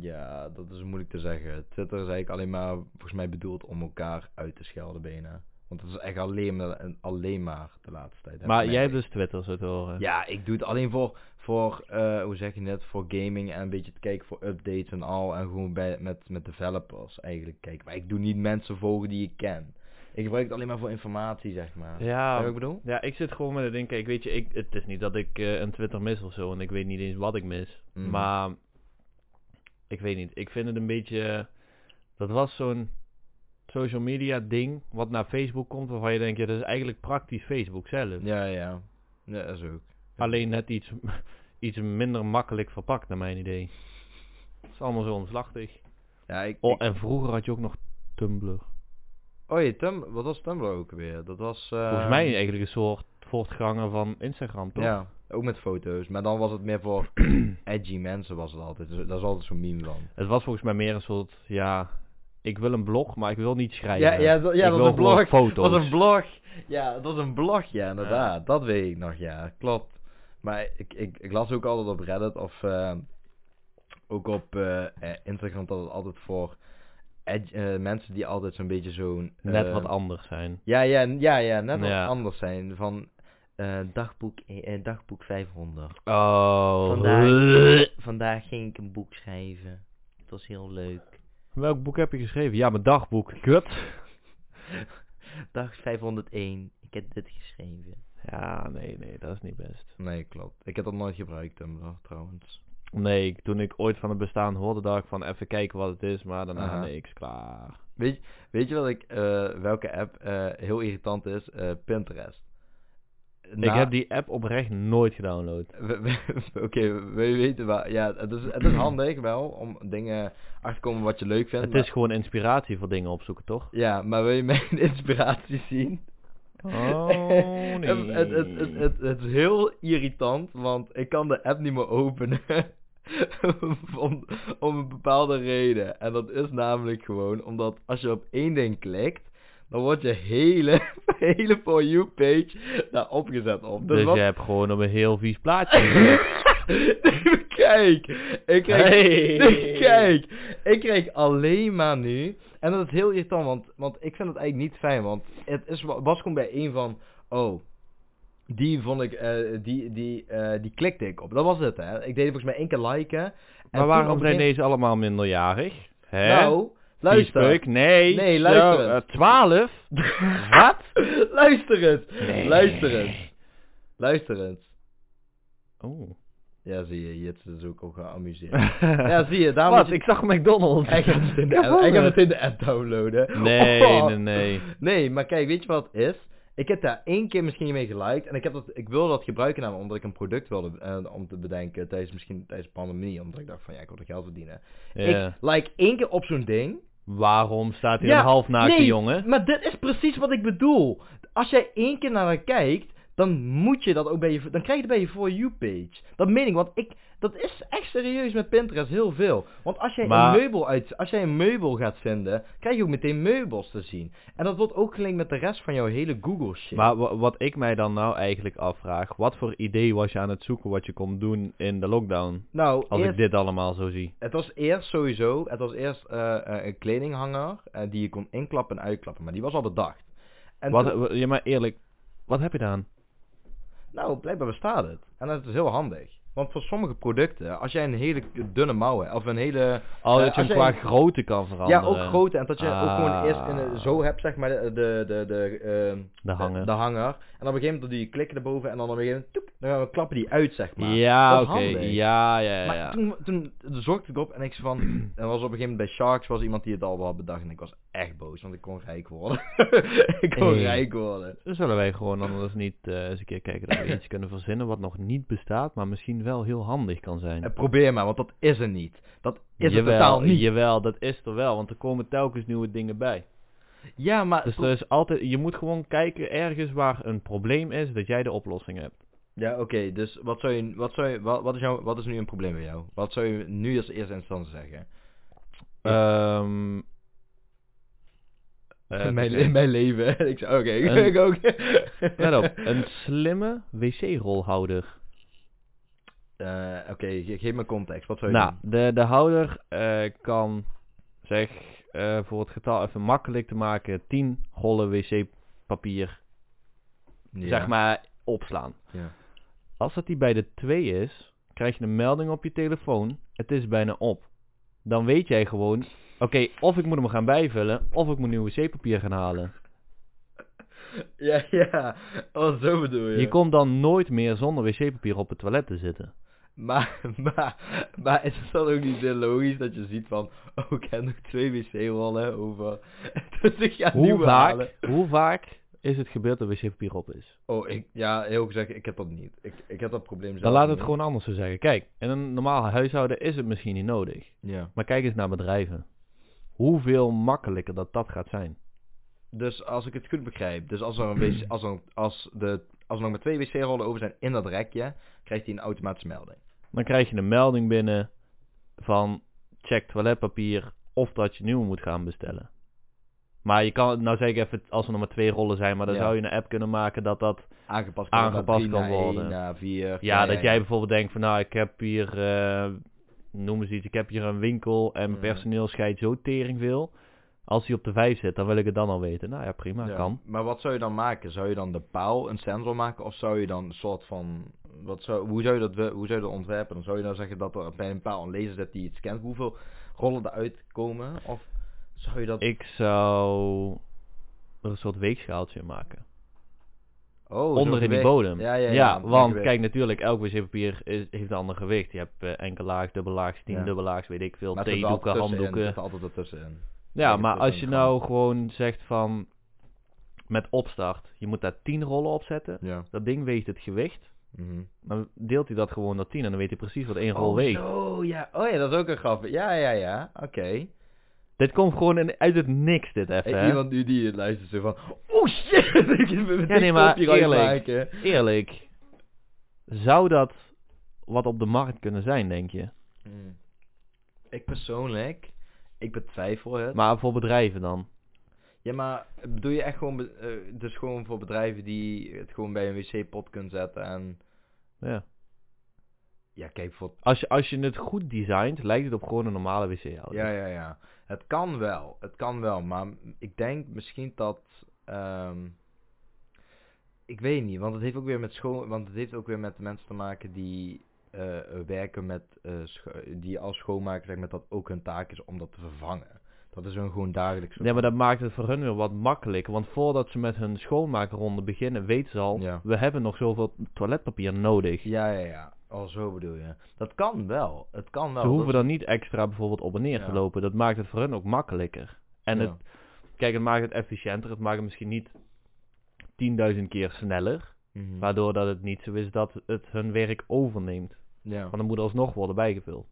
Ja, dat is moeilijk te zeggen. Twitter is eigenlijk alleen maar, volgens mij, bedoeld om elkaar uit te schelden bijna. Want dat is echt alleen maar, en alleen maar de laatste tijd. heb maar ik jij hebt gemerkt. dus Twitter, zo te horen. Ja, ik doe het alleen voor, voor eh, hoe zeg je net, voor gaming en een beetje te kijken voor updates en al. En gewoon bij, met, met developers eigenlijk kijken. Maar ik doe niet mensen volgen die ik ken. Ik gebruik het alleen maar voor informatie, zeg maar. Snap je ja, wat ik bedoel? ja, ik zit gewoon met het ding, kijk, weet je, ik, het is niet dat ik eh, een Twitter mis of zo, en ik weet niet eens wat ik mis. Mhm. Maar, ik weet niet, ik vind het een beetje, dat was zo'n social media ding, wat naar Facebook komt, waarvan je denkt, ja, dat is eigenlijk praktisch Facebook zelf. Ja, ja. Ja, dat is ook. Alleen net iets, iets minder makkelijk verpakt, naar mijn idee. Het is allemaal zo omslachtig. Ja, ik, Oh, en vroeger had je ook nog Tumblr. Oh, je Tum wat was Tumblr ook weer? Dat was... eh, Volgens mij eigenlijk een soort voortganger van Instagram, toch? Ja, ook met foto's. Maar dan was het meer voor edgy mensen was het altijd. Dus Daar is altijd zo'n meme van. Het was volgens mij meer een soort, ja, ik wil een blog, maar ik wil niet Ja, schrijven. ja, dat- ja, ik dat wil was een gewoon blog. foto's. Dat was een blog. Ja, dat was een blog. Ja, inderdaad. Dat weet ik nog, ja. Klopt. Maar ik, ik, ik las ook altijd op Reddit of eh, ook op eh, eh, Instagram dat het altijd voor edgy- eh, mensen die altijd zo'n beetje zo'n... Net eh, wat anders zijn. Ja, ja, ja, ja, net wat Ja. anders zijn. Van eh, dagboek, eh, dagboek 500. Oh. Vandaag, vandaag ging ik een boek schrijven. Het was heel leuk. Welk boek heb je geschreven? Ja, mijn dagboek. Kut. Dag 501. Ik heb dit geschreven. Ja, nee, nee, dat is niet best. Nee, klopt. Ik heb dat nooit gebruikt, Tumblr, trouwens. Nee, ik- toen ik ooit van het bestaan hoorde, dacht ik van even kijken wat het is, maar daarna Aha. niks, klaar. Weet, je- weet je wat ik, eh, welke app eh, heel irritant is? Eh, Pinterest. Ik heb die app oprecht nooit gedownload. We- we- Oké, we weten waar. Ja, het is, het is handig wel om dingen achter te komen wat je leuk vindt. Het maar- is gewoon inspiratie voor dingen opzoeken, toch? Ja, maar wil je mijn inspiratie zien? Oh, nee. het, het, het, het, het, het is heel irritant, want ik kan de app niet meer openen. om, om een bepaalde reden. En dat is namelijk gewoon omdat als je op één ding klikt, dan wordt je hele, hele For You page daar opgezet op. Dus wat- je hebt gewoon op een heel vies plaatje gezet. kijk, ik kreeg, Hey. kijk, ik kreeg alleen maar nu, en dat is heel irritant, want, want ik vind het eigenlijk niet fijn, want het is, wa- was gewoon bij één van, oh, die vond ik, eh, die, die, eh, die klikte ik op, dat was het hè, ik deed volgens mij één keer liken. En Maar toen waarom op een zijn gegeven- deze allemaal minderjarig? Hè? Nou, luister, Viespeuk? Nee. Nee, luister Zo, eens. eh, 12? Wat? luister eens, Nee. luister eens, luister eens. Oh. Ja, zie je, Jits is ook al geamuseerd. ja, zie je, daarom moet Wat? je- Ik zag McDonald's. Hij gaat meteen de app, hij gaat meteen de app downloaden. Nee, Oh. nee, nee. Nee, maar kijk, weet je wat het is? Ik heb daar één keer misschien mee geliked. En ik, heb dat, ik wilde dat gebruiken namelijk omdat ik een product wilde eh, om te bedenken tijdens misschien tijdens de pandemie. Omdat ik dacht van ja, ik wil er geld verdienen. Ja. Ik like één keer op zo'n ding. Waarom staat hier Ja, een halfnaakte nee, jongen? Maar dit is precies wat ik bedoel. Als jij één keer naar haar kijkt, dan moet je dat ook bij je. Dan krijg je het bij je For You page. Dat meen ik, want ik. Dat is echt serieus met Pinterest heel veel. Want als jij, Maar- een, meubel uit, als jij een meubel gaat vinden, krijg je ook meteen meubels te zien. En dat wordt ook gelinkt met de rest van jouw hele Google shit. Maar wa- wat ik mij dan nou eigenlijk afvraag, wat voor idee was je aan het zoeken wat je kon doen in de lockdown? nou, Als eerst- ik dit allemaal zo zie. Het was eerst sowieso, het was eerst eh, eh, een kledinghanger eh, die je kon inklappen en uitklappen, maar die was al bedacht. En Wat, toen- wa- ja, maar eerlijk, wat heb je dan? Nou, blijkbaar bestaat het. En dat is heel handig. Want voor sommige producten, als jij een hele dunne mouw hebt, of een hele... Oh, Eh, als dat je hem jij- qua grootte kan Ja, veranderen. ook grote. En dat je ook gewoon Ah. eerst in, de- zo hebt, zeg maar, de... De, de, de, ehm, De hanger. De hanger. En op een gegeven moment doe je klikken erboven en dan op een gegeven moment... toep, dan gaan we klappen die uit, zeg maar. Ja, Dat is oké. handig. Ja, ja, ja. Maar ja. toen, toen zorgde ik op en ik zei van... Er was op een gegeven moment bij Sharks was iemand die het al wel had bedacht. En ik was echt boos, want ik kon rijk worden. ik kon Hey. rijk worden. Dan zullen wij gewoon anders niet eh, eens een keer kijken dat we iets kunnen verzinnen wat nog niet bestaat, maar misschien wel heel handig kan zijn. Eh, probeer maar, want dat is er niet. Dat is jawel, er totaal niet. Jawel, dat is er wel, want er komen telkens nieuwe dingen bij. Ja, maar... Dus pro- er is altijd, je moet gewoon kijken ergens waar een probleem is, dat jij de oplossing hebt. Ja, oké, dus wat zou je, wat zou je, wat, wat, is jou, wat is nu een probleem bij jou? Wat zou je nu als eerste instantie zeggen? Ehm eh, In mijn, oké. in mijn leven. ik zei, oké, ik- Een- ik ook. Let op, een slimme wc-rolhouder. Eh, oké, ge- geef me context, wat zou je Nou, doen? de, de houder eh, kan, zeg, eh, voor het getal even makkelijk te maken, 10 rollen wc-papier, Ja, zeg maar, opslaan. Ja. Als dat die bij de 2 is, krijg je een melding op je telefoon, het is bijna op. Dan weet jij gewoon, oké, of ik moet hem gaan bijvullen, of ik moet nieuw wc-papier gaan halen. Ja, ja. Oh, zo bedoel je. Je komt dan nooit meer zonder wc-papier op het toilet te zitten. Maar, maar, maar is het dan ook niet heel logisch dat je ziet van, oh, ik heb nog twee wc-rollen over. dus ik ga Hoe nieuwe halen. vaak, hoe vaak is het gebeurd dat wc-papier op is? Oh, ik, ja, heel gezegd, ik heb dat niet. Ik, ik heb dat probleem zelf Dan laat het niet. gewoon anders zo zeggen. Kijk, in een normaal huishouden is het misschien niet nodig. Ja. Maar kijk eens naar bedrijven. Hoeveel makkelijker dat dat gaat zijn. Dus als ik het goed begrijp, dus als er, een wc, als er, als de, als er nog maar twee wc-rollen over zijn in dat rekje, krijgt hij een automatische melding. Dan krijg je een melding binnen van check toiletpapier of dat je nieuw moet gaan bestellen. Maar je kan, nou zeg ik even, als er nog maar twee rollen zijn, maar dan Ja. zou je een app kunnen maken dat dat... Aangepast kan Aangepast naar drie, kan naar één, worden. naar vier. Ja, dat jij ja. bijvoorbeeld denkt van nou, ik heb hier, eh, noem eens iets, ik heb hier een winkel en mijn Ja. personeel scheidt zo tering veel. Als hij op de 5 zit, dan wil ik het dan al weten. Nou ja, prima, Ja. kan. Maar wat zou je dan maken? Zou je dan de paal een sensor maken? Of zou je dan een soort van... Wat zou, hoe, zou je dat, we- hoe zou je dat ontwerpen? Dan zou je dan zeggen dat er bij een paal een laser zit die iets scant. Hoeveel rollen eruit komen? Of zou je dat... Ik zou er een soort weegschaaltje in maken. oh, zo Onder in die gewicht. bodem. Ja, ja, ja. want gewicht. kijk, natuurlijk, elk wc-papier is- heeft een ander gewicht. Je hebt eh, enkele laag, dubbele laag, tien Ja. dubbele laag, weet ik veel, Maar het zit er theedoeken, altijd tussenin, handdoeken. Het zit altijd ertussenin. Ja, Tegen maar het als je lichaam. nou gewoon zegt van met opstart, je moet daar 10 rollen op zetten. Ja. Dat ding weegt het gewicht. Mhm. Dan deelt hij dat gewoon naar 10 en dan weet hij precies wat één rol oh, weegt. zo, ja. Oh ja, dat is ook een grap. Ja, ja, ja. Oké. Dit komt gewoon in, uit het niks, dit even. En hè. iemand nu die het luistert zo van... Oh shit! ik heb mijn Ja, nee, maar TikTokje eerlijk. maken. Eerlijk, zou dat wat op de markt kunnen zijn, denk je? Hmm. Ik persoonlijk, ik betwijfel het. Maar voor bedrijven dan? ja, maar bedoel je echt gewoon, be- eh, dus gewoon voor bedrijven die het gewoon bij een wc-pot kunnen zetten en... Ja. Ja, kijk, voor... Als, je, als je het goed designt, lijkt het op gewoon een normale wc-auto. Ja, ja, ja. Het kan wel, het kan wel, maar m- ik denk misschien dat... ehm, ik weet niet, want het heeft ook weer met school, want het heeft ook weer met mensen te maken die eh, eh, werken met, eh, scho- die als schoonmaker zeg maar dat ook hun taak is om dat te vervangen. Dat is hun gewoon dagelijks. Nee, maar dat maakt het voor hun weer wat makkelijker. Want voordat ze met hun schoonmaakronde beginnen, weten ze al... Ja. we hebben nog zoveel toiletpapier nodig. Ja, ja, ja. Oh, zo bedoel je. Dat kan wel. Het kan wel. ze hoeven dat dan niet extra bijvoorbeeld op en neer Ja. te lopen. Dat maakt het voor hun ook makkelijker. En Ja. het, kijk, het maakt het efficiënter. Het maakt het misschien niet 10.000 keer sneller. Mhm. Waardoor dat het niet zo is dat het hun werk overneemt. Ja, Want dan moet er alsnog worden bijgevuld.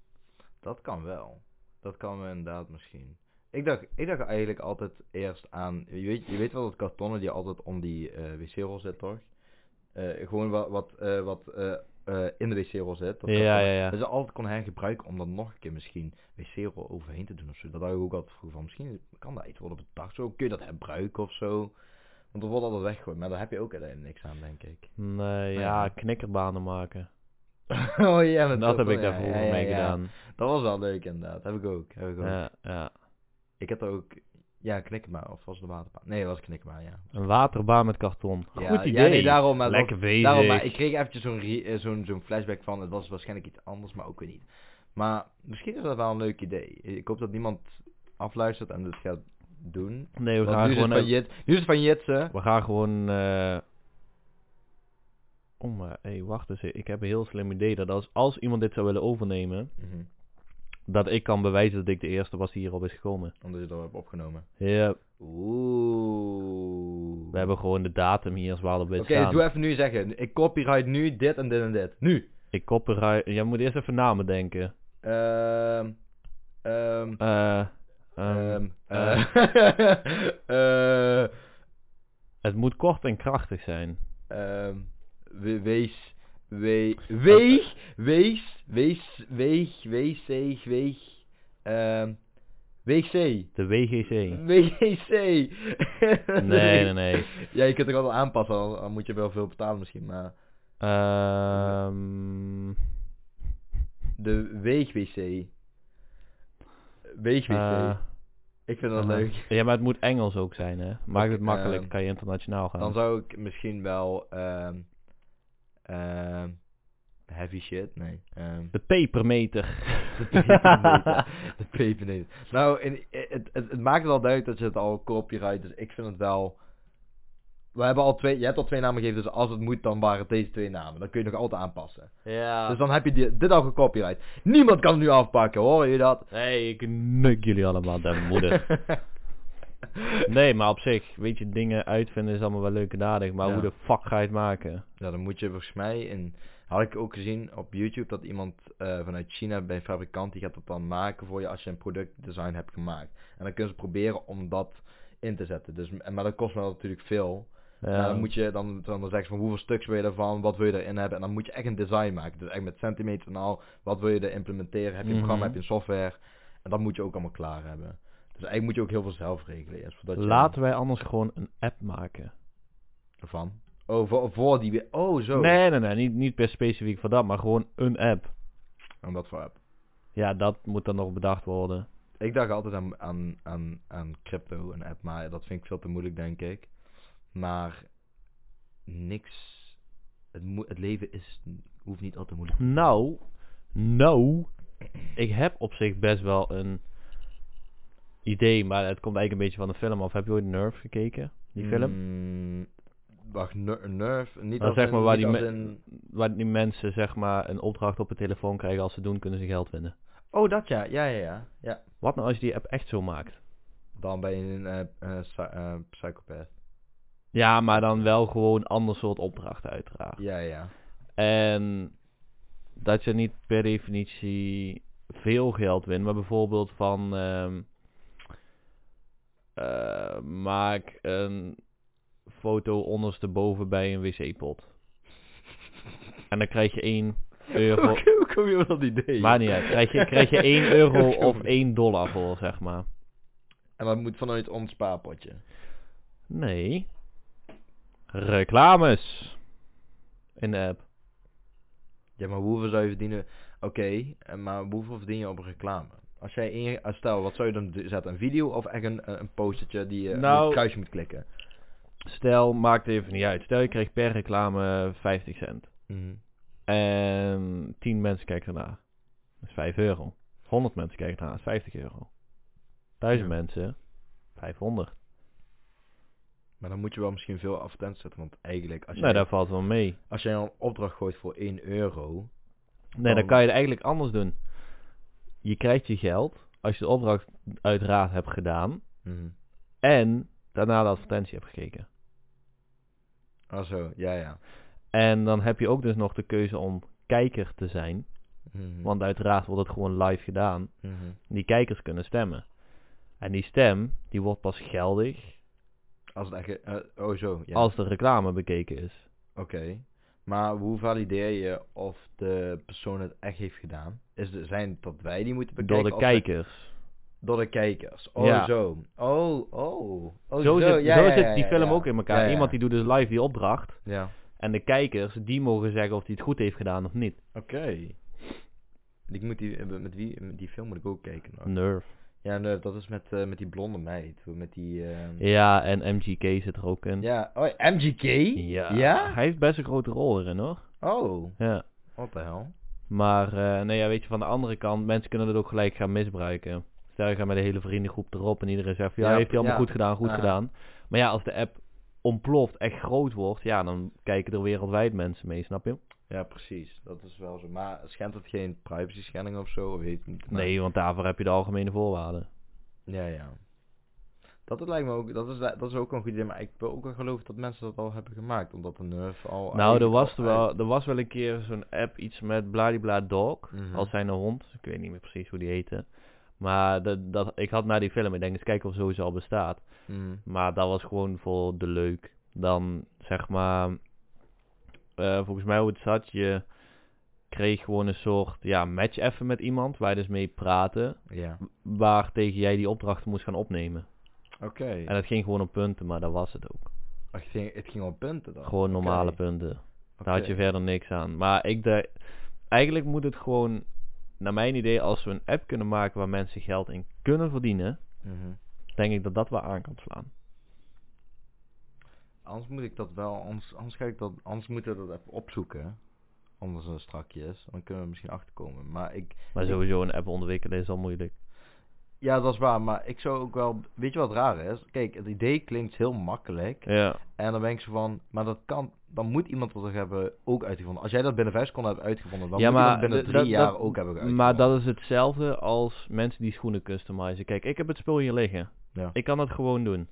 dat kan wel. Dat kan wel inderdaad misschien. Ik dacht, ik dacht eigenlijk altijd eerst aan... Je weet, je weet wel dat kartonnen die altijd om die eh, wc-rol zit, toch? Eh, gewoon wat, wat, eh, wat eh, eh, in de wc-rol zit. Dat Ja, kartonnen. ja, ja. Dat ze altijd kon hergebruiken om dat nog een keer misschien wc-rol overheen te doen of zo. Dat had ik ook altijd vroeg van. Misschien kan dat iets worden bedacht. Zo kun je dat herbruiken of zo. Want dat wordt altijd weggegooid. Maar daar heb je ook uiteindelijk niks aan, denk ik. Nee, Ja. ja, knikkerbanen maken. oh ja, met dat heb karton, ik daar ja, vroeger ja, ja, mee ja. gedaan. Dat was wel leuk inderdaad. Heb ik ook. Heb ik, ook. Ja, ja. ik heb er ook. Ja, knikkenbaar. Of was het een waterbaan? Nee, dat was knikkenbaar, ja. Een waterbaan met karton. Ja, Goed idee. Ja, nee, daarom. Maar, Lekker bezig. daarom, maar ik kreeg eventjes zo'n re- eh, zo'n zo'n flashback van. Het was waarschijnlijk iets anders, maar ook weer niet. Maar misschien is dat wel een leuk idee. Ik hoop dat niemand afluistert en dit gaat doen. Nee, we Want gaan nu, is het gewoon... van Jit, nu is het van Jitsen. We gaan gewoon... eh Om, eh, hey, wacht eens. Ik heb een heel slim idee dat als, als iemand dit zou willen overnemen... Mhm. Dat ik kan bewijzen dat ik de eerste was die hierop is gekomen. Omdat je dat hebt opgenomen. Ja, Oeh. we hebben gewoon de datum hier zwaar op wit Oké, staan. doe even nu zeggen. Ik copyright nu dit en dit en dit. Nu. Ik copyright... Jij moet eerst even namen denken. Ehm. Ehm. Eh, ehm, Ehm. eh, eh, het moet kort en krachtig zijn. ehm, we- Wees. we- Weeg. Wees. Wees. Weeg. Wees. Weeg. Weeg. Ehm. Weeg C. De WGC. WGC. Nee, nee, nee. Ja, je kunt het ook wel aanpassen, al, al moet je wel veel betalen misschien, maar... Ehm De weeg-wc. Weeg-wc. eh, ik vind dat eh, leuk. Ja, maar het moet Engels ook zijn, hè? Maakt het Oké, makkelijk, ehm, kan je internationaal gaan. Dan zou ik misschien wel ehm ehm, heavy shit, nee. ehm, De pepermeter. de pepernoten. de pepernoten. Nou, in, het, het, het maakt wel duidelijk dat je het al copyright, dus ik vind het wel. We hebben al twee, je hebt al twee namen gegeven, dus als het moet, dan waren het deze twee namen. Dan kun je nog altijd aanpassen. Ja. Dus dan heb je die- dit al gecopyright. Niemand kan het nu afpakken, hoor je dat? hey, ik nuk jullie allemaal, de moeder. Nee, maar op zich, weet je, dingen uitvinden is allemaal wel leuk en aardig, maar Ja. hoe de fuck ga je het maken? Ja, dan moet je volgens mij in. Had ik ook gezien op YouTube dat iemand eh, vanuit China bij een fabrikant die gaat dat dan maken voor je als je een productdesign hebt gemaakt. En dan kunnen ze proberen om dat in te zetten. Dus, en- maar dat kost wel natuurlijk veel. Maar Ja, dan moet je dan, dan zeggen ze van hoeveel stuks wil je ervan, wat wil je erin hebben. En dan moet je echt een design maken. Dus echt met centimeters en al, wat wil je er implementeren? Heb je een programma, Mhm. heb je een software? En dat moet je ook allemaal klaar hebben. Dus eigenlijk moet je ook heel veel zelf regelen. eerst, voordat je- Laten wij anders gewoon een app maken. Van. Oh, voor, voor die... Oh, zo. Nee, nee, nee, niet, niet per specifiek voor dat, maar gewoon een app. En wat voor app? Ja, dat moet dan nog bedacht worden. Ik dacht altijd aan, aan, aan, aan crypto en app, maar dat vind ik veel te moeilijk, denk ik. Maar niks. Het, moe- het leven is, hoeft niet al te moeilijk. Nou, nou, ik heb op zich best wel een idee, maar het komt eigenlijk een beetje van de film af. Heb je ooit Nerve gekeken? Die film? Mm, wacht, Ner- Nerve. Niet Dan als zeg in- maar waar niet die als me- in- Waar die mensen zeg maar een opdracht op hun telefoon krijgen. Als ze doen, kunnen ze geld winnen. Oh, dat ja. Ja, ja, ja. ja. Wat nou als je die app echt zo maakt? Dan ben je een eh, eh, psy- eh, psychopath. Ja, maar dan wel gewoon ander soort opdrachten uiteraard. Ja, ja. En dat je niet per definitie veel geld wint, maar bijvoorbeeld van ehm, eh, maak een foto ondersteboven bij een wc-pot. En dan krijg je 1 euro. Hoe hoe kom je op dat idee? Maar niet uit. Krijg je, krijg je 1 euro of 1 dollar voor, zeg maar. En dat moet vanuit ons spaarpotje. Nee. Reclames. In de app. Ja, maar hoeveel zou je verdienen? Oké, eh, maar hoeveel verdien je op reclame? Als jij in, als stel, wat zou je dan d- zetten? Een video of echt een, eh, een postertje die je Nou- met een kruisje moet klikken? Stel, maakt even niet uit. Stel, je krijgt per reclame 50 cent. Mhm. En 10 mensen kijken ernaar. Dat is 5 euro. 100 mensen kijken ernaar. Dat is 50 euro. 1000 mensen. 500. Maar dan moet je wel misschien veel advertenties zetten, want eigenlijk als jij, Nou, daar valt wel mee. als jij een opdracht gooit voor 1 euro, Nee, dan Dan- kan je het eigenlijk anders doen. Je krijgt je geld als je de opdracht uiteraard hebt gedaan. mhm. En daarna de advertentie hebt gekeken. ah zo, ja ja. En dan heb je ook dus nog de keuze om kijker te zijn. Mhm. Want uiteraard wordt het gewoon live gedaan. Mhm. Die kijkers kunnen stemmen. En die stem, die wordt pas geldig Als het echt, eh, oh zo, ja. als de reclame bekeken is. Oké. Maar hoe valideer je of de persoon het echt heeft gedaan? Is de, zijn het dat wij die moeten bekijken? door de of dat- kijkers. Door de kijkers. Oh, Ja. zo. Oh, oh. oh zo zit, ja, zo ja, zit ja, die ja, film ja. ook in elkaar. Ja, ja. Iemand die doet dus live die opdracht. Ja. En de kijkers, die mogen zeggen of hij het goed heeft gedaan of niet. Oké. Ik moet die, eh, met wie, met die film moet ik ook kijken. nog. Nerve. Ja, nee, dat is met, eh, met die blonde meid. hoe- Met die, eh, Ja, en MGK zit er ook in. ja. Oh, MGK? Ja. Ja? Hij heeft best een grote rol erin hoor. Oh, Ja. what the hell. Maar eh, nee, ja, weet je, van de andere kant, mensen kunnen het ook gelijk gaan misbruiken. Stel, je gaat met de hele vriendengroep erop en iedereen zegt van, ja, Ja, heeft hij allemaal ja. goed gedaan, goed Ja. gedaan. Maar ja, als de app ontploft, echt groot wordt, ja, dan kijken er wereldwijd mensen mee, snap je? Ja, precies. Dat is wel zo. Maar schendt het geen privacy schending of zo? Of heet het niet? Maar- Nee, want daarvoor heb je de algemene voorwaarden. Ja, ja. Dat het lijkt me ook, dat is, dat is ook een goed idee, maar ik wil ook wel geloven dat mensen dat al hebben gemaakt, omdat de nerf al... nou, eigenlijk er al was, er, wel, uit- er was wel een keer zo'n app, iets met Bladibla Dog, Mhm. als zijn hond. Ik weet niet meer precies hoe die heette. Maar dat, dat, ik had naar die film, ik denk eens kijken of sowieso al bestaat. Mhm. Maar dat was gewoon voor de leuk. Dan zeg maar, eh, volgens mij hoe het zat, je kreeg gewoon een soort ja, match even met iemand waar je dus mee praatte, Ja, waar tegen jij die opdrachten moest gaan opnemen. oké. En dat ging gewoon op punten, maar dat was het ook. Ach, het, ging, het ging om punten dan? Gewoon Oké, normale punten. Daar had je oké. verder niks aan. Maar ik dacht, eigenlijk moet het gewoon, naar mijn idee, als we een app kunnen maken waar mensen geld in kunnen verdienen, Mhm. denk ik dat dat wel aan kan slaan. Anders moet ik dat wel, anders, anders, ga ik dat, anders moeten we dat even opzoeken. Anders dan strakjes, dan kunnen we misschien achterkomen. Maar ik, Maar sowieso een app ontwikkelen is al moeilijk. ja dat is waar, maar ik zou ook wel, weet je wat raar is? Kijk, het idee klinkt heel makkelijk. Ja. En dan ben ik zo van, maar dat kan, dan moet iemand dat er hebben ook uitgevonden. Als jij dat binnen vijf seconden hebt uitgevonden, dan moet je dat binnen d- drie dat- jaar dat- ook hebben uitgevonden. Maar dat is hetzelfde als mensen die schoenen customizen. Kijk, ik heb het spul hier liggen. Ja. Ik kan dat gewoon doen.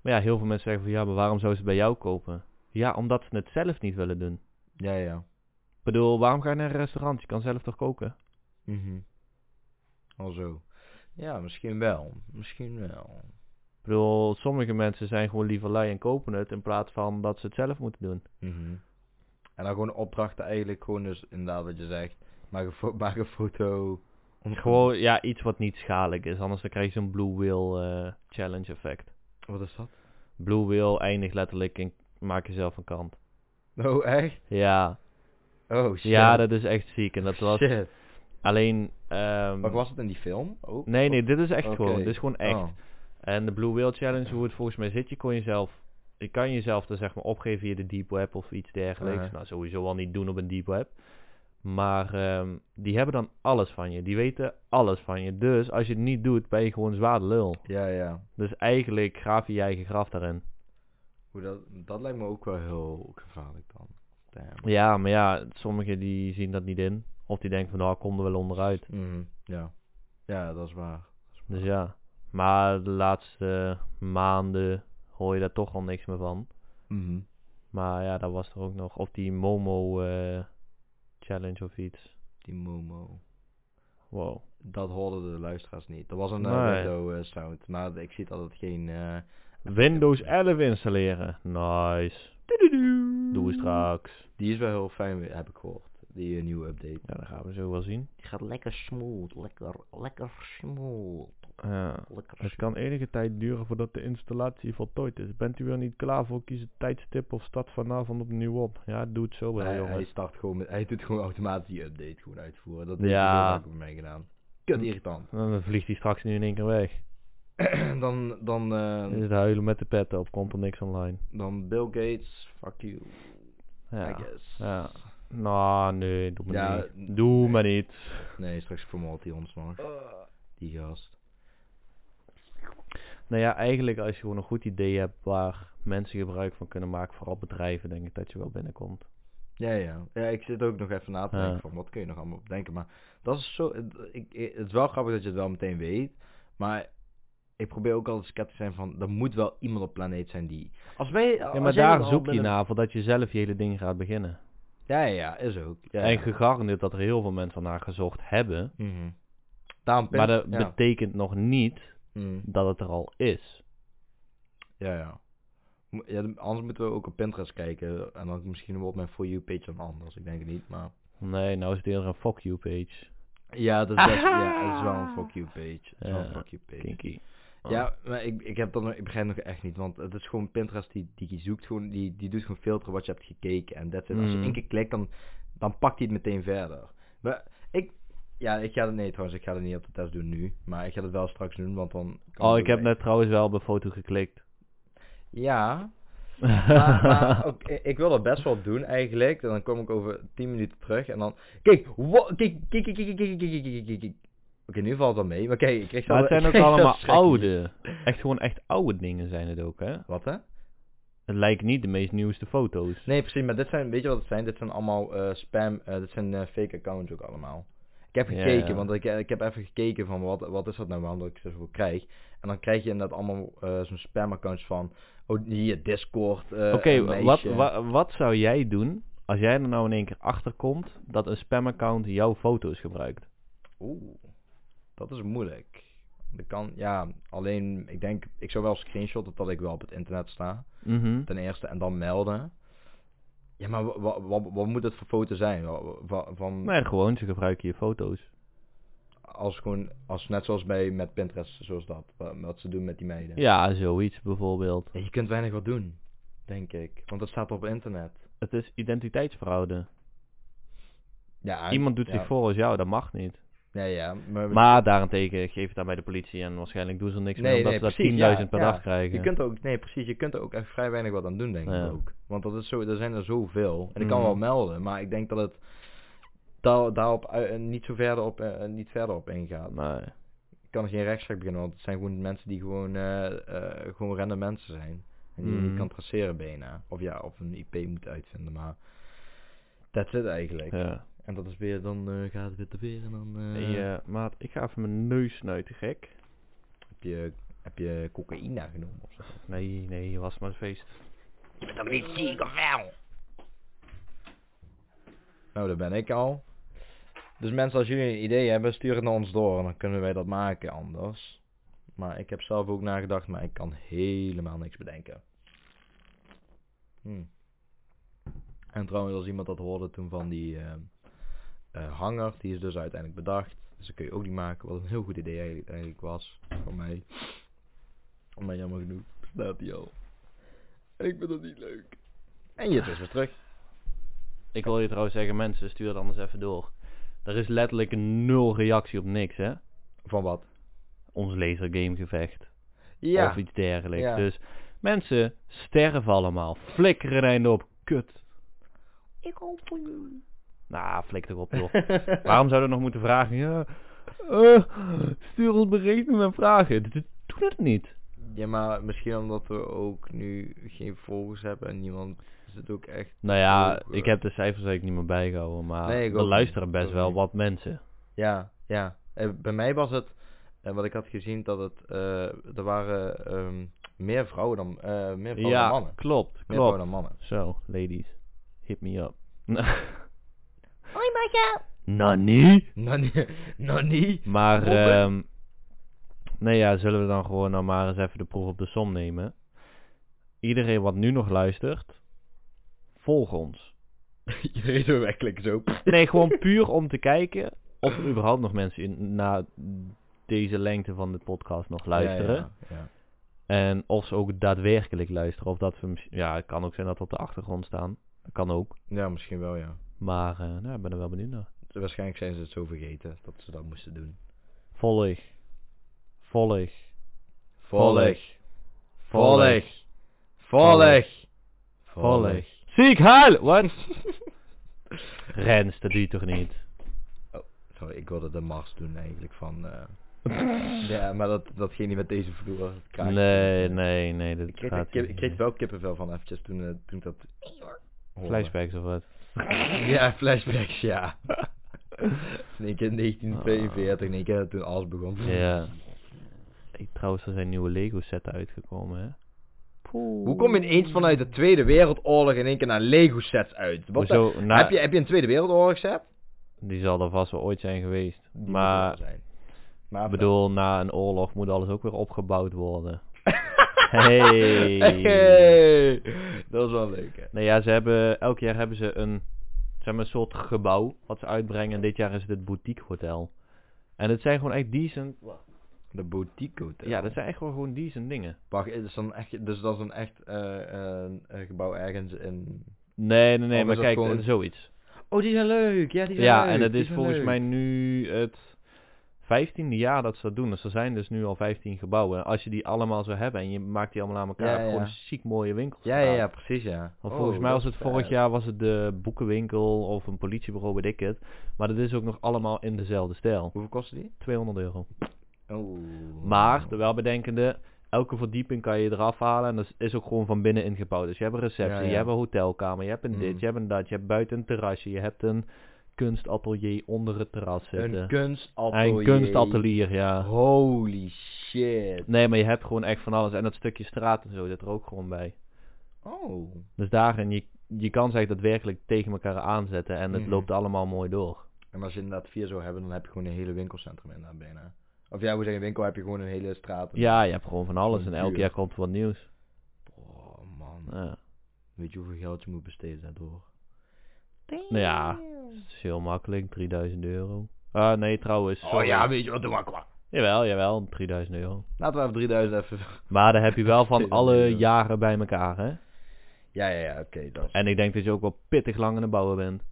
Maar ja, heel veel mensen zeggen van ja, maar waarom zou ze het bij jou kopen? Ja, omdat ze het zelf niet willen doen. Ja, ja. Ik bedoel, waarom ga je naar een restaurant? Je kan zelf toch koken? Mhm. Al zo. Ja, misschien wel. Misschien wel. Ik bedoel, sommige mensen zijn gewoon liever lui en kopen het in plaats van dat ze het zelf moeten doen. Mhm. En dan gewoon opdrachten eigenlijk gewoon dus inderdaad wat je zegt. Maak een, fo- maak een foto. Om- Gewoon, ja, iets wat niet schadelijk is. Anders dan krijg je zo'n Blue Whale eh, Challenge effect. Wat is dat? Blue Whale eindigt letterlijk in maak jezelf een kant. Oh, echt? Ja, Oh, shit. ja, dat is echt ziek. En dat was, Shit. Alleen Ehm, Maar was het in die film ook? Nee, nee, dit is echt Oké. gewoon. Dit is gewoon echt. Oh, En de Blue Whale Challenge, hoe het volgens mij zit, je kon jezelf... Je kan jezelf dan zeg maar opgeven via de deep web of iets dergelijks. Ja. Nou, sowieso al niet doen op een deep web. Maar ehm, die hebben dan alles van je. Die weten alles van je. Dus als je het niet doet, ben je gewoon zwaar de lul. Ja, ja. Dus eigenlijk graaf je je eigen graf daarin. Hoe dat, dat lijkt me ook wel heel gevaarlijk dan. Damn. Ja, maar ja, sommigen die zien dat niet in. Of die denken van, nou, ik kom er wel onderuit. Mhm, ja. Ja, dat is waar. Dus ja. Maar de laatste maanden hoor je daar toch al niks meer van. Mhm. Maar ja, dat was er ook nog. Of die Momo eh, challenge of iets. Die Momo. Wow. Dat hoorden de luisteraars niet. Dat was een Nee. eh, window eh, sound. Maar ik zie dat het geen... eh, Windows 11 installeren. Nice. Tududu. Doe we straks. die is wel heel fijn, heb ik gehoord. Die eh, nieuwe update. Ja, dat gaan we zo wel zien. Het gaat lekker smooth, lekker, lekker smooth. Ja. Lekker Het kan enige tijd duren voordat de installatie voltooid is. Bent u weer niet klaar voor kies het tijdstip of start vanavond opnieuw op. Ja, doe het zo wel, hij, hij jongens. start gewoon met, hij doet gewoon automatisch die update gewoon uitvoeren. Dat Ja. heeft hij heel vaak bij mij gedaan. Kut irritant. Dan vliegt hij straks nu in één keer weg. dan, dan, eh, Dan is het huilen met de pet op. Komt er niks online. dan Bill Gates, fuck you, I Ja. guess. Ja. Nou, nee. Doe me Ja, niet. Doe me niet. Nee, straks vermoordt hij ons nog. Oh. Die gast. Nou ja, eigenlijk als je gewoon een goed idee hebt waar mensen gebruik van kunnen maken, vooral bedrijven, denk ik dat je wel Oh, binnenkomt. Ja, ja. Ja, ik zit ook nog even na te denken Ja. van wat kun je nog allemaal bedenken. Maar dat is zo... het- Ik, ik- het is wel grappig dat je het wel meteen weet. Maar ik probeer ook altijd sceptisch te zijn van... Er moet wel iemand op planeet zijn die... Als wij... Ja, als maar jij daar dat al zoek je binnen- naar voordat je zelf je hele ding gaat beginnen. Ja, ja, is ook. Ja, En ja. gegarandeerd dat er heel veel mensen naar gezocht hebben, Mhm. Daarom maar dat pins- ja. betekent nog niet Mhm. dat het er al is. Ja, ja. Mo- ja. dan- Anders moeten we ook op Pinterest kijken. En dan misschien wordt mijn For You page dan anders. Ik denk het niet, maar... Nee, nou is het eerder een fuck you page. Ja, dat is, best, ja, dat is wel een fuck you page. Dat is wel Ja, een fuck you page. Kinky. Oh. Ja, maar ik, ik, heb dat, nog- ik begrijp nog echt niet. Want het is gewoon Pinterest die, die zoekt gewoon, die, die doet gewoon filteren wat je hebt gekeken. En dat Als je Mm. één keer klikt, dan, dan pakt hij het meteen verder. Maar ik, ja, ik ga dat, nee trouwens, ik ga dat niet op de test doen nu. Maar ik ga dat wel straks doen, want dan... kan het Oh, ook ik heb bij- net trouwens wel op een foto geklikt. Ja, maar, maar ook, ik, ik wil dat best wel doen eigenlijk. En dan kom ik over 10 minuten terug en dan... Kijk, wa- kijk, kijk, kijk, kijk, kijk, kijk, kijk, kijk, kijk, kijk. Oké, nu valt dat mee. Maar kijk, ik kreeg maar het zelf- zijn ook ik kreeg zelf allemaal schrik hier. oude. Echt gewoon echt oude dingen zijn het ook, hè? Wat hè? Het lijkt niet de meest nieuwste foto's. Nee, precies, maar dit zijn, weet je wat het zijn? Dit zijn allemaal eh, spam, eh, dit zijn eh, fake accounts ook allemaal. Ik heb Ja, gekeken, ja. want ik, eh, ik heb even gekeken van wat, wat is dat nou, waarom dat ik zoveel krijg. En dan krijg je inderdaad allemaal eh, zo'n spam accounts van, oh hier, Discord, eh, Oké, een meisje. wat, wa- wat zou jij doen als jij er nou in één keer achter komt dat een spamaccount jouw foto's gebruikt? Oeh, dat is moeilijk. Dat kan, ja, alleen, ik denk, ik zou wel screenshotten dat ik wel op het internet sta, Mhm. ten eerste, en dan melden. Ja, maar wa- wa- wa- wat moet het voor foto zijn? Wa- wa- Van, Nee, gewoon, ze gebruiken je foto's. als gewoon, als net zoals bij met Pinterest, zoals dat, wa- wat ze doen met die meiden. Ja, zoiets bijvoorbeeld. Ja, Je kunt weinig wat doen, denk ik, want dat staat op internet. Het is identiteitsfraude. Ja, Iemand doet ja. zich voor als jou, dat mag niet. Ja, ja, maar, Maar daarentegen geef het aan bij de politie en waarschijnlijk doen ze er niks mee omdat ze daar precies, 10.000 ja, per ja. dag krijgen. Je kunt er ook, nee, precies, je kunt er ook echt vrij weinig wat aan doen, denk Ja. ik ook. Want dat is zo, er zijn er zoveel. En ik kan Mhm. wel melden, maar ik denk dat het daar, daarop eh, eh, niet zo verder op, eh, eh, niet verder op ingaat. Nee. Ik kan er geen rechtszaak beginnen, want het zijn gewoon mensen die gewoon, eh, eh, gewoon random mensen zijn. En die je niet Mhm. kan traceren bijna. Of ja, of een IP moet uitvinden, maar... That's it eigenlijk. Ja. En dat is weer, dan eh, gaat het weer te weer en dan eh, Hey, eh, maat, ik ga even mijn neus snuiten, gek. heb, je, heb je cocaïne genomen of zo. Nee, nee, was maar een feest. Je bent toch niet ziek, of wel? Nou, daar ben ik al. Dus mensen, als jullie een idee hebben, stuur het naar ons door. En dan kunnen wij dat maken anders. Maar ik heb zelf ook nagedacht, maar ik kan helemaal niks bedenken. Hm. En trouwens, als iemand dat hoorde toen van die eh, eh, hanger, die is dus uiteindelijk bedacht. Dus dat kun je ook niet maken, wat een heel goed idee eigenlijk, eigenlijk was van mij. Maar jammer genoeg, staat die al. En ik vind dat niet leuk. En je is weer terug. Ik wil je trouwens zeggen, mensen, stuur het anders even door. Er is letterlijk nul reactie op niks, hè? Van wat? Ons lasergamegevecht. Ja. Of iets dergelijks. Ja. Dus mensen sterven allemaal. Flikkeren een einde op. Kut. Ik hoop voor jullie. Nou, flik erop, joh. Waarom zouden we nog moeten vragen? Ja, eh, stuur ons berichten met vragen. D- d- Doe dat niet. ja, maar misschien omdat we ook nu geen volgers hebben en niemand zit ook echt... Nou ja, Oh, eh. ik heb de cijfers eigenlijk niet meer bijgehouden. Maar Nee, ik er ook luisteren niet. best Ook wel niet. wat mensen. Ja, ja. Eh, bij mij was het, en wat ik had gezien, dat het, eh, er waren ehm, meer vrouwen dan, eh, meer vrouwen ja, dan mannen. klopt. Meer vrouwen Klopt. dan mannen. Zo, ladies. Hit me up. Hoi, Marja. Nani? Nani? Nani? Maar, Moppen. ehm nee ja, zullen we dan gewoon nou maar eens even de proef op de som nemen. Iedereen wat nu nog luistert, volg ons. Iedereen zo werkelijk zo. Nee, gewoon puur om te kijken of er überhaupt nog mensen in, na deze lengte van de podcast nog luisteren. Ja, ja, ja. En of ze ook daadwerkelijk luisteren. Of dat we, mis- ja, het kan ook zijn dat we op de achtergrond staan. Dat kan ook. Ja, misschien wel, ja. Maar, eh, nou, ik ben er wel benieuwd naar. Waarschijnlijk zijn ze het zo vergeten dat ze dat moesten doen. Volg. Volg. Volg. Volg. Volg. Volg. Volg. Ziek huil! Wat? Rens, dat doe je toch niet? Sorry, ik wilde de mars doen eigenlijk van... eh, ja, maar dat, dat ging niet met deze vloer. het kraakte. Nee, nee, nee. Dat Ik kreeg, er gaat kip- niet. ik kreeg er wel kippenvel van eventjes toen, eh, toen ik dat... hoorde. Flashbacks of wat? Ja, flashbacks, ja. In één keer 1942, in één keer toen alles begon. Ah. Ja. Ik, trouwens, er zijn nieuwe Lego sets uitgekomen, hè? Hoe kom je ineens vanuit de Tweede Wereldoorlog in één keer naar Lego sets uit? Wat de- Hoezo? Nou, heb, je, heb je een Tweede Wereldoorlog set? Die zal er vast wel ooit zijn geweest. Die maar, moet er wel zijn. Maar ik bedoel, na een oorlog moet alles ook weer opgebouwd worden. hey. Hey. Dat is wel leuk, hè? Nee, Nou ja, ze hebben, elk jaar hebben ze een, zeg maar, een soort gebouw wat ze uitbrengen. En dit jaar is het het Boutique Hotel. En het zijn gewoon echt decent, De boutique hotel. ja, dat zijn echt wel gewoon decent dingen. Wacht, is dat dan echt, dus dat is dan echt eh, een- een gebouw ergens in... Nee, nee, nee, Of maar is dat kijk, gewoon- eh, zoiets. Oh, die zijn leuk! Ja, die zijn Ja, leuk! en het die is zijn volgens leuk. mij nu het vijftiende jaar dat ze dat doen. Dus er zijn dus nu al 15 gebouwen. Als je die allemaal zou hebben en je maakt die allemaal aan elkaar, Ja, heb je gewoon ja. ziek mooie winkels. Ja, ja, gedaan. ja, precies, ja. Want Oh, volgens mij dat was het is vorig vet. jaar was het de boekenwinkel of een politiebureau, weet ik het. Maar dat is ook nog allemaal in dezelfde stijl. Hoeveel kostte die? 200 euro. Oh. Maar, de welbedenkende, elke verdieping kan je eraf halen. En dat is ook gewoon van binnen ingebouwd. Dus je hebt een receptie, Ja, ja. je hebt een hotelkamer, je hebt een dit, Mm. je hebt een dat. Je hebt buiten een terrasje, je hebt een kunstatelier onder het terras zitten. eh, Een kunstatelier. Een kunstatelier, ja. Holy shit. Nee, maar je hebt gewoon echt van alles. En dat stukje straat en zo zit er ook gewoon bij. Oh. Dus daarin, je, je kan zich daadwerkelijk tegen elkaar aanzetten. En het Mhm. loopt allemaal mooi door. En als je inderdaad vier zou hebben, dan heb je gewoon een hele winkelcentrum inderdaad bijna. Of ja, hoe zeg je, winkel heb je gewoon een hele straat. Ja, je hebt gewoon van alles. En Zo'n elk buurt. jaar komt er wat nieuws. Oh man. Ja. Weet je hoeveel geld je moet besteden daardoor? Nou ja, het is heel makkelijk. 3000 euro. Ah, nee, trouwens. Oh sorry. weet je wat, doe maar klaar. Jawel, jawel, 3000 euro. Laten we even 3000 even... Maar dan heb je wel van 3000 alle euro. jaren bij elkaar, hè? Ja, ja, ja, oké, dat is... En ik denk dat je ook wel pittig lang aan het bouwen bent.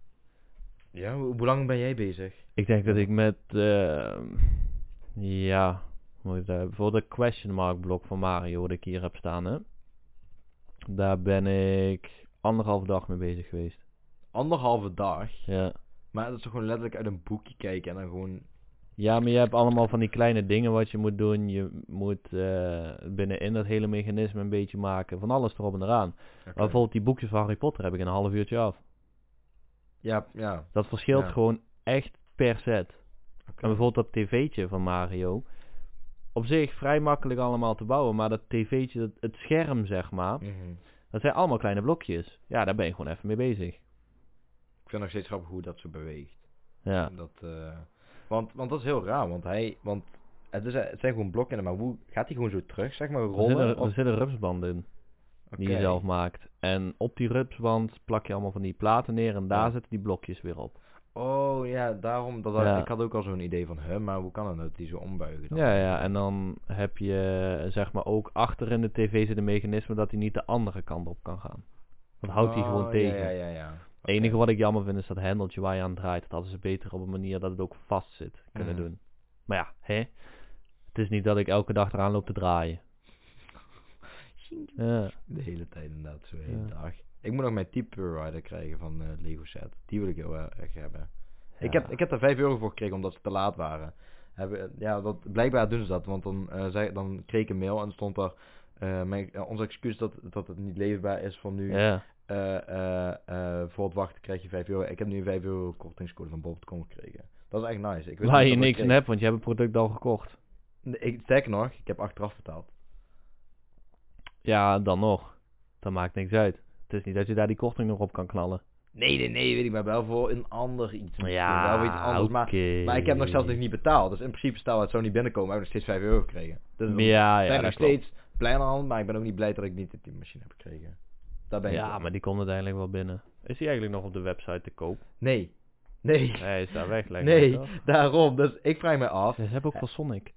Ja, hoe, hoe lang ben jij bezig? Ik denk dat ik met, ehm, ja, hoe moet ik dat hebben? Bijvoorbeeld dat question mark blok van Mario, wat ik hier heb staan, hè? Daar ben ik anderhalf dag mee bezig geweest. Anderhalve dag. Ja. Maar dat is toch gewoon letterlijk uit een boekje kijken en dan gewoon... Ja, maar je hebt allemaal van die kleine dingen wat je moet doen. Je moet eh, binnenin dat hele mechanisme een beetje maken. Van alles erop en eraan. Oké. Maar bijvoorbeeld die boekjes van Harry Potter heb ik in een half uurtje af. Ja, ja. Dat verschilt Ja. gewoon echt per set. oké. En bijvoorbeeld dat tv'tje van Mario. Op zich vrij makkelijk allemaal te bouwen, maar dat tv'tje, dat, het scherm zeg maar, Mhm. dat zijn allemaal kleine blokjes. Ja, daar ben je gewoon even mee bezig. Ik vind het nog steeds grappig hoe dat ze beweegt. Ja, Dat, eh, want, want dat is heel raar, want hij, want het, is, het zijn gewoon blokken, maar hoe gaat hij gewoon zo terug, zeg maar, er zitten, rollen? er zitten rupsbanden in die je zelf maakt. En op die rupsband plak je allemaal van die platen neer en daar Ja. zitten die blokjes weer op. Oh ja, daarom, dat had- Ja. ik had ook al zo'n idee van, hè, maar hoe kan het nou dat die zo ombuigen dan? Ja, ja, en dan heb je zeg maar ook achter in de tv zit een mechanisme dat hij niet de andere kant op kan gaan. Dan houdt hij Oh, gewoon tegen. Ja, ja, ja, ja. Het enige wat ik jammer vind is dat hendeltje waar je aan draait. Dat hadden ze beter op een manier dat het ook vast zit kunnen Mhm. doen. Maar ja, hè? Het is niet dat ik elke dag eraan loop te draaien. Ja. De hele tijd inderdaad, zo'n hele Ja. dag. Ik moet nog mijn type rider krijgen van eh Lego set. Die wil ik heel erg hebben. Ik, Ja. heb, ik heb daar 5 euro voor gekregen omdat ze te laat waren. Hebben, eh, ja, dat, blijkbaar doen ze dat, want dan, eh, zei, dan kreeg ik een mail en stond daar... eh, mijn, eh, ons excuus dat, dat het niet leverbaar is voor nu. Ja. Eh, eh, eh, voor het wachten krijg je 5 euro. Ik heb nu een 5 euro kortingscode van Bob.com gekregen. Dat is echt nice. Ik wist Waar niet je dat dat niks in kreeg. hebt, want je hebt het product al gekocht. Nee, Ik, sterker nog, ik heb achteraf betaald. Ja, dan nog. Dat maakt niks uit. Het is niet dat je daar die korting nog op kan knallen. Nee, nee, nee, weet ik maar wel voor een ander iets. misschien, Ja, wel voor iets anders. Maar oké. Maar ik heb nog zelfs nog niet betaald. Dus in principe, stel het zou niet binnenkomen, heb ik nog steeds 5 euro gekregen. Dus dan Ja, ben ja, ik nog dat klopt. steeds blij aan de hand, maar ik ben ook niet blij dat ik niet de machine heb gekregen. Daar ben ik Ja, op. maar die komt uiteindelijk wel binnen. Is die eigenlijk nog op de website te koop? Nee. Nee. Hij is daar weg, lekker. Nee, daarom. Dus ik vraag me af. Ze hebben ook wel Sonic.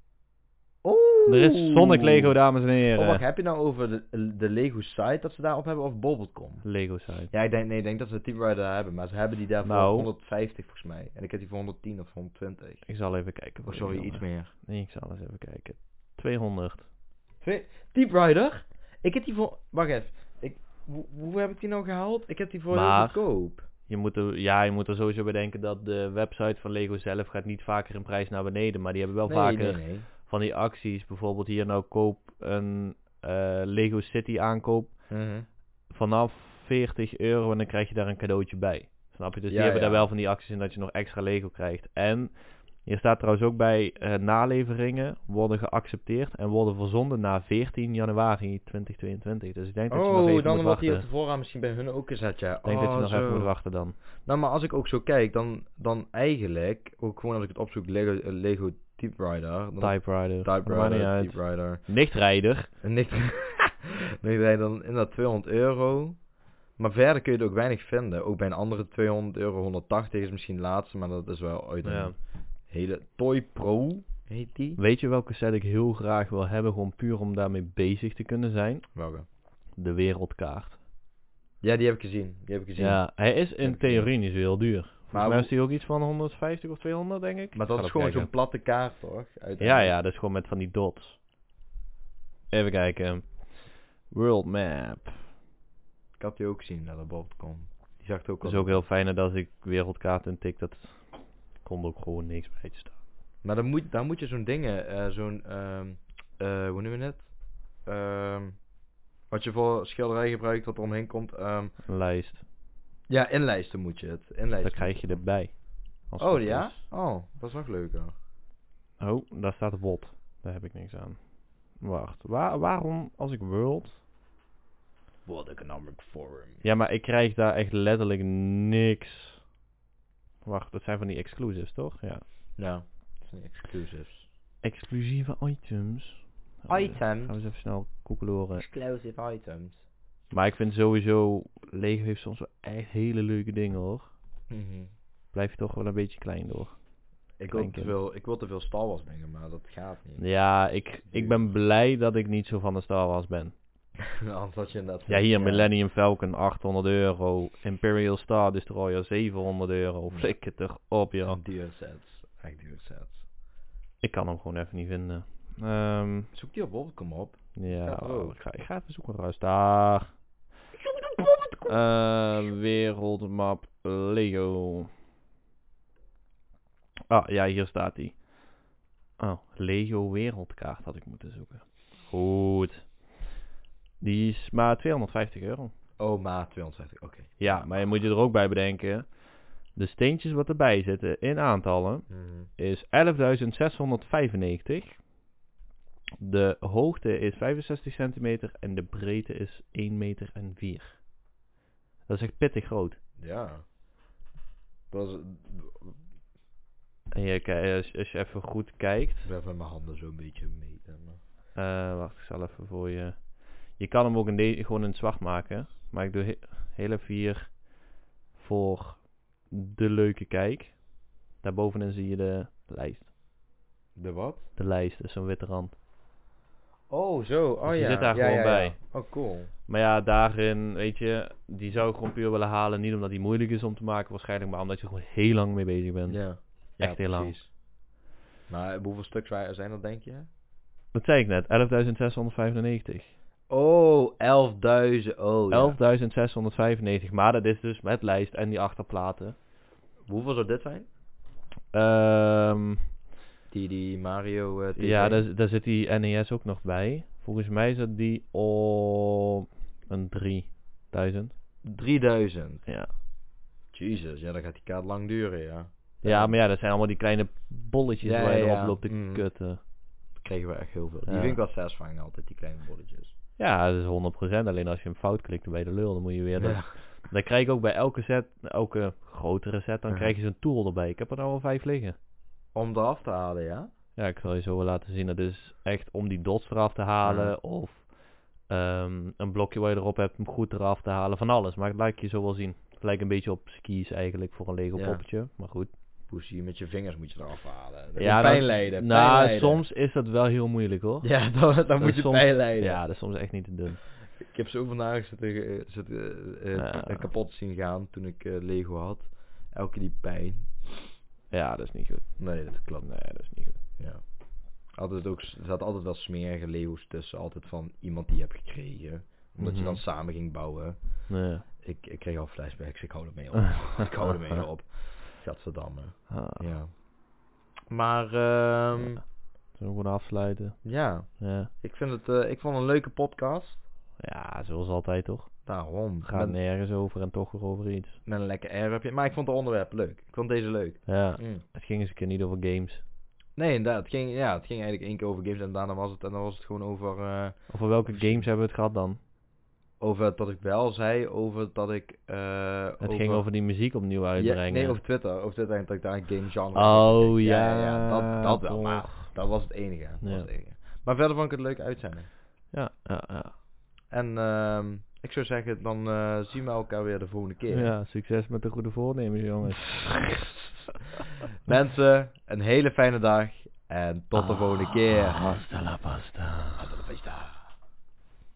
Oeh. Er is Sonic Lego, eh, dames en Oh, heren. wacht, heb je nou over de, de Lego site dat ze daarop hebben of Bobblecom? Lego site. Ja, ik denk, nee, ik denk dat ze de Team Rider daar hebben, maar ze hebben die daar voor Nou. 150 volgens mij. En ik heb die voor 110 of 120. Ik zal even kijken. Oh, voor sorry, jullie, iets jongen. meer. Nee, ik zal eens even kijken. 200. Twee- Deep Rider? Ik heb die voor... Wacht even. Ik, hoe, hoe heb ik die nou gehaald? Ik heb die voor heel Maar- goedkoop. Je moet er, ja, je moet er sowieso bedenken dat de website van Lego zelf gaat niet vaker in prijs naar beneden. Maar die hebben wel nee, vaker nee, nee. van die acties. Bijvoorbeeld hier nou koop een eh, Lego City aankoop Mhm. vanaf 40 euro en dan krijg je daar een cadeautje bij. Snap je? Dus Ja, die hebben ja. daar wel van die acties in dat je nog extra Lego krijgt. En je staat trouwens ook bij eh, naleveringen worden geaccepteerd en worden verzonden na 14 januari 2022. Dus ik denk dat je nog Oh, even dan moet wordt wachten. hier op de voorraad misschien bij hun ook gezet, ja. Ik denk dat je nog even moet wachten dan. Oh, Nou, maar als ik ook zo kijk, dan, dan eigenlijk, ook gewoon als ik het opzoek, Lego, eh, Lego Type Rider. Dan Typewriter. Type Maakt niet Rider, uit. Type Rider. Nichtrijder. En ik, nee, nee, dan inderdaad 200 euro. Maar verder kun je er ook weinig vinden. Ook bij een andere 200 euro, 180 is misschien de laatste, maar dat is wel uit een Ja. hele Toy Pro heet die. Weet je welke set ik heel graag wil hebben, gewoon puur om daarmee bezig te kunnen zijn? Welke? De wereldkaart. Ja, die heb ik gezien. Die heb ik gezien. Ja, hij is Heb in ik theorie niet zo heel duur. Volgens Maar mij hoe- is die ook iets van 150 of 200, denk ik. Maar dat Ik ga is dat gewoon zo'n kijken. platte kaart, toch? Ja, ja, dat is gewoon met van die dots. Even kijken. World Map. Ik had die ook gezien naar de Bob.com. Die zag het ook Dat al. is ook heel fijn dat als ik wereldkaart intik, dat komt ook gewoon niks bij te staan. Maar dan moet, dan moet je zo'n dingen, eh, zo'n, ehm, eh, hoe noemen we het? Ehm, wat je voor schilderij gebruikt, wat er omheen komt. ehm, Een lijst. ja, inlijsten moet je het. Inlijsten. Dat krijg je erbij. Als het Oh goed ja? is. Oh, dat is nog leuker. Oh, daar staat WOT. Daar heb ik niks aan. Wacht, waar, waarom als ik World... World Economic Forum. Ja, maar ik krijg daar echt letterlijk niks. Wacht, dat zijn van die exclusives, toch? Ja. Ja, dat zijn exclusives. Exclusieve items. Gaan we- eh, Gaan we Items. eens even snel koekeloren. Exclusive items. Maar ik vind sowieso, Lego heeft soms wel echt hele leuke dingen hoor. Blijf je toch wel een beetje klein Ik, door. Mhm. wil Kleinkind. te veel, ik wil te veel Star Wars dingen, maar dat gaat niet. Ja, ik, ik ben blij dat ik niet zo van de Star Wars ben. Anders had je inderdaad... eh, Ja, hier Millennium Falcon 800 euro. Imperial Star Destroyer 700 euro. Ja. Flik het erop, ja. Duur sets. Echt duur sets. Ik kan hem gewoon even niet vinden. Ehm, Zoek die op Wolkom op. ja, Gaat er ook. ik ga, ik ga even zoeken. Ruist daar. Eh, wereldmap Lego. Ah, ja, hier staat hij. Oh, Lego wereldkaart had ik moeten zoeken. Goed. Die is maar 250 euro. Oh, maar 250, oké. Ja, maar je moet je er ook bij bedenken. De steentjes wat erbij zitten in aantallen Mhm. is 11.695. De hoogte is 65 centimeter en de breedte is 1 meter en 4. Dat is echt pittig groot. Ja. Dat is... En je, ki- als, als je even goed kijkt. Ik ben even mijn handen zo'n beetje mee. eh, wacht, ik zal even voor je. Je kan hem ook in de, gewoon in het zwart maken. Maar ik doe he- hele vier voor de leuke kijk. Daarbovenin zie je de lijst. De wat? De lijst is zo'n witte rand. Oh, zo. Oh Dus die ja. zit daar ja, gewoon ja, ja. bij. Oh, cool. Maar ja, daarin, weet je, die zou ik gewoon puur willen halen. Niet omdat die moeilijk is om te maken waarschijnlijk, maar omdat je er gewoon heel lang mee bezig bent. Ja. Echt heel lang. precies. Maar hoeveel stuks wa- zijn dat, denk je? Dat zei ik net, 11.695. Oh, 11.000. Oh, ja. 11.695, maar dat is dus met lijst en die achterplaten. Hoeveel zou dit zijn? Ehm, Die, die Mario eh, TV? ja, daar, daar zit die NES ook nog bij. Volgens mij zat die op een 3000. 3000. Ja. Jesus, ja, dan gaat die kaart lang duren, ja. ja, maar ja, dat zijn allemaal die kleine bolletjes Ja, waar ja, je erop ja. loopt te Mhm. kutten. Daar kregen we echt heel veel. Die Ja. vind ik wel satisfying altijd, die kleine bolletjes. Ja, dat is 100%. Alleen als je hem fout klikt bij de lul, dan moet je weer... dat- Ja. Dan krijg ik ook bij elke set, elke grotere set, dan Ja. krijg je zo'n tool erbij. Ik heb er nou al vijf liggen. Om eraf te halen, ja? Ja, ik zal je zo wel laten zien. Dat is echt om die dots eraf te halen Ja. of ehm, een blokje waar je erop hebt om goed eraf te halen. Van alles, maar dat laat ik je zo wel zien. Het lijkt een beetje op skis eigenlijk voor een Lego Ja. poppetje, maar goed. Poesie, met je vingers moet je eraf halen. Dat Ja, ja, dat- pijn lijden, pijn nou, lijden. soms is dat wel heel moeilijk hoor. Ja, dan, dan moet is je soms- pijn lijden. Ja, dat is soms echt niet te doen. Ik heb zoveel nagen zitten, eh, zitten eh, eh, Ja. eh, kapot zien gaan toen ik eh, Lego had. Elke keer die pijn. Ja, dat is niet goed. Nee, dat klopt. Nee, dat is niet goed. Ja. Altijd ook, s- er zaten altijd wel smerige Lego's tussen. Altijd van iemand die je hebt gekregen. Omdat je Mhm. dan samen ging bouwen. Nee. Ik, ik kreeg al flashbacks. Ik hou ermee op. ik hou ermee op. Gadverdamme. Ah, Ja. Maar, ehm ja. Ja. Zullen we gewoon afsluiten? Ja. Ik vind het, eh, ik vond het een leuke podcast. ja, zoals altijd toch? Daarom. Gaat Met, nergens over en toch weer over iets. met een lekker airwebje. Maar ik vond het onderwerp leuk. Ik vond deze leuk. Ja, Mm. het ging eens een keer niet over games. Nee, inderdaad. Het ging, ja, het ging eigenlijk één keer over games en daarna was het, en dan was het gewoon over, eh, Over welke games hebben we het gehad dan? over dat ik wel zei, over dat ik... eh Het ging over die muziek opnieuw uitbrengen. Ja, nee, over Twitter. Over Twitter en dat ik daar een game genre... Oh Ja, ja, ja, ja, dat- dat wel, toch. maar- Dat was het enige. Dat Ja. was het enige. Maar verder vond ik het leuk uitzending. Ja, ja, ja. En ehm, ik zou zeggen, dan eh, zien we elkaar weer de volgende keer. ja, succes met de goede voornemens, jongens. Mensen, een hele fijne dag en tot de volgende keer. Hasta la Ah, pasta. Tot de volgende keer.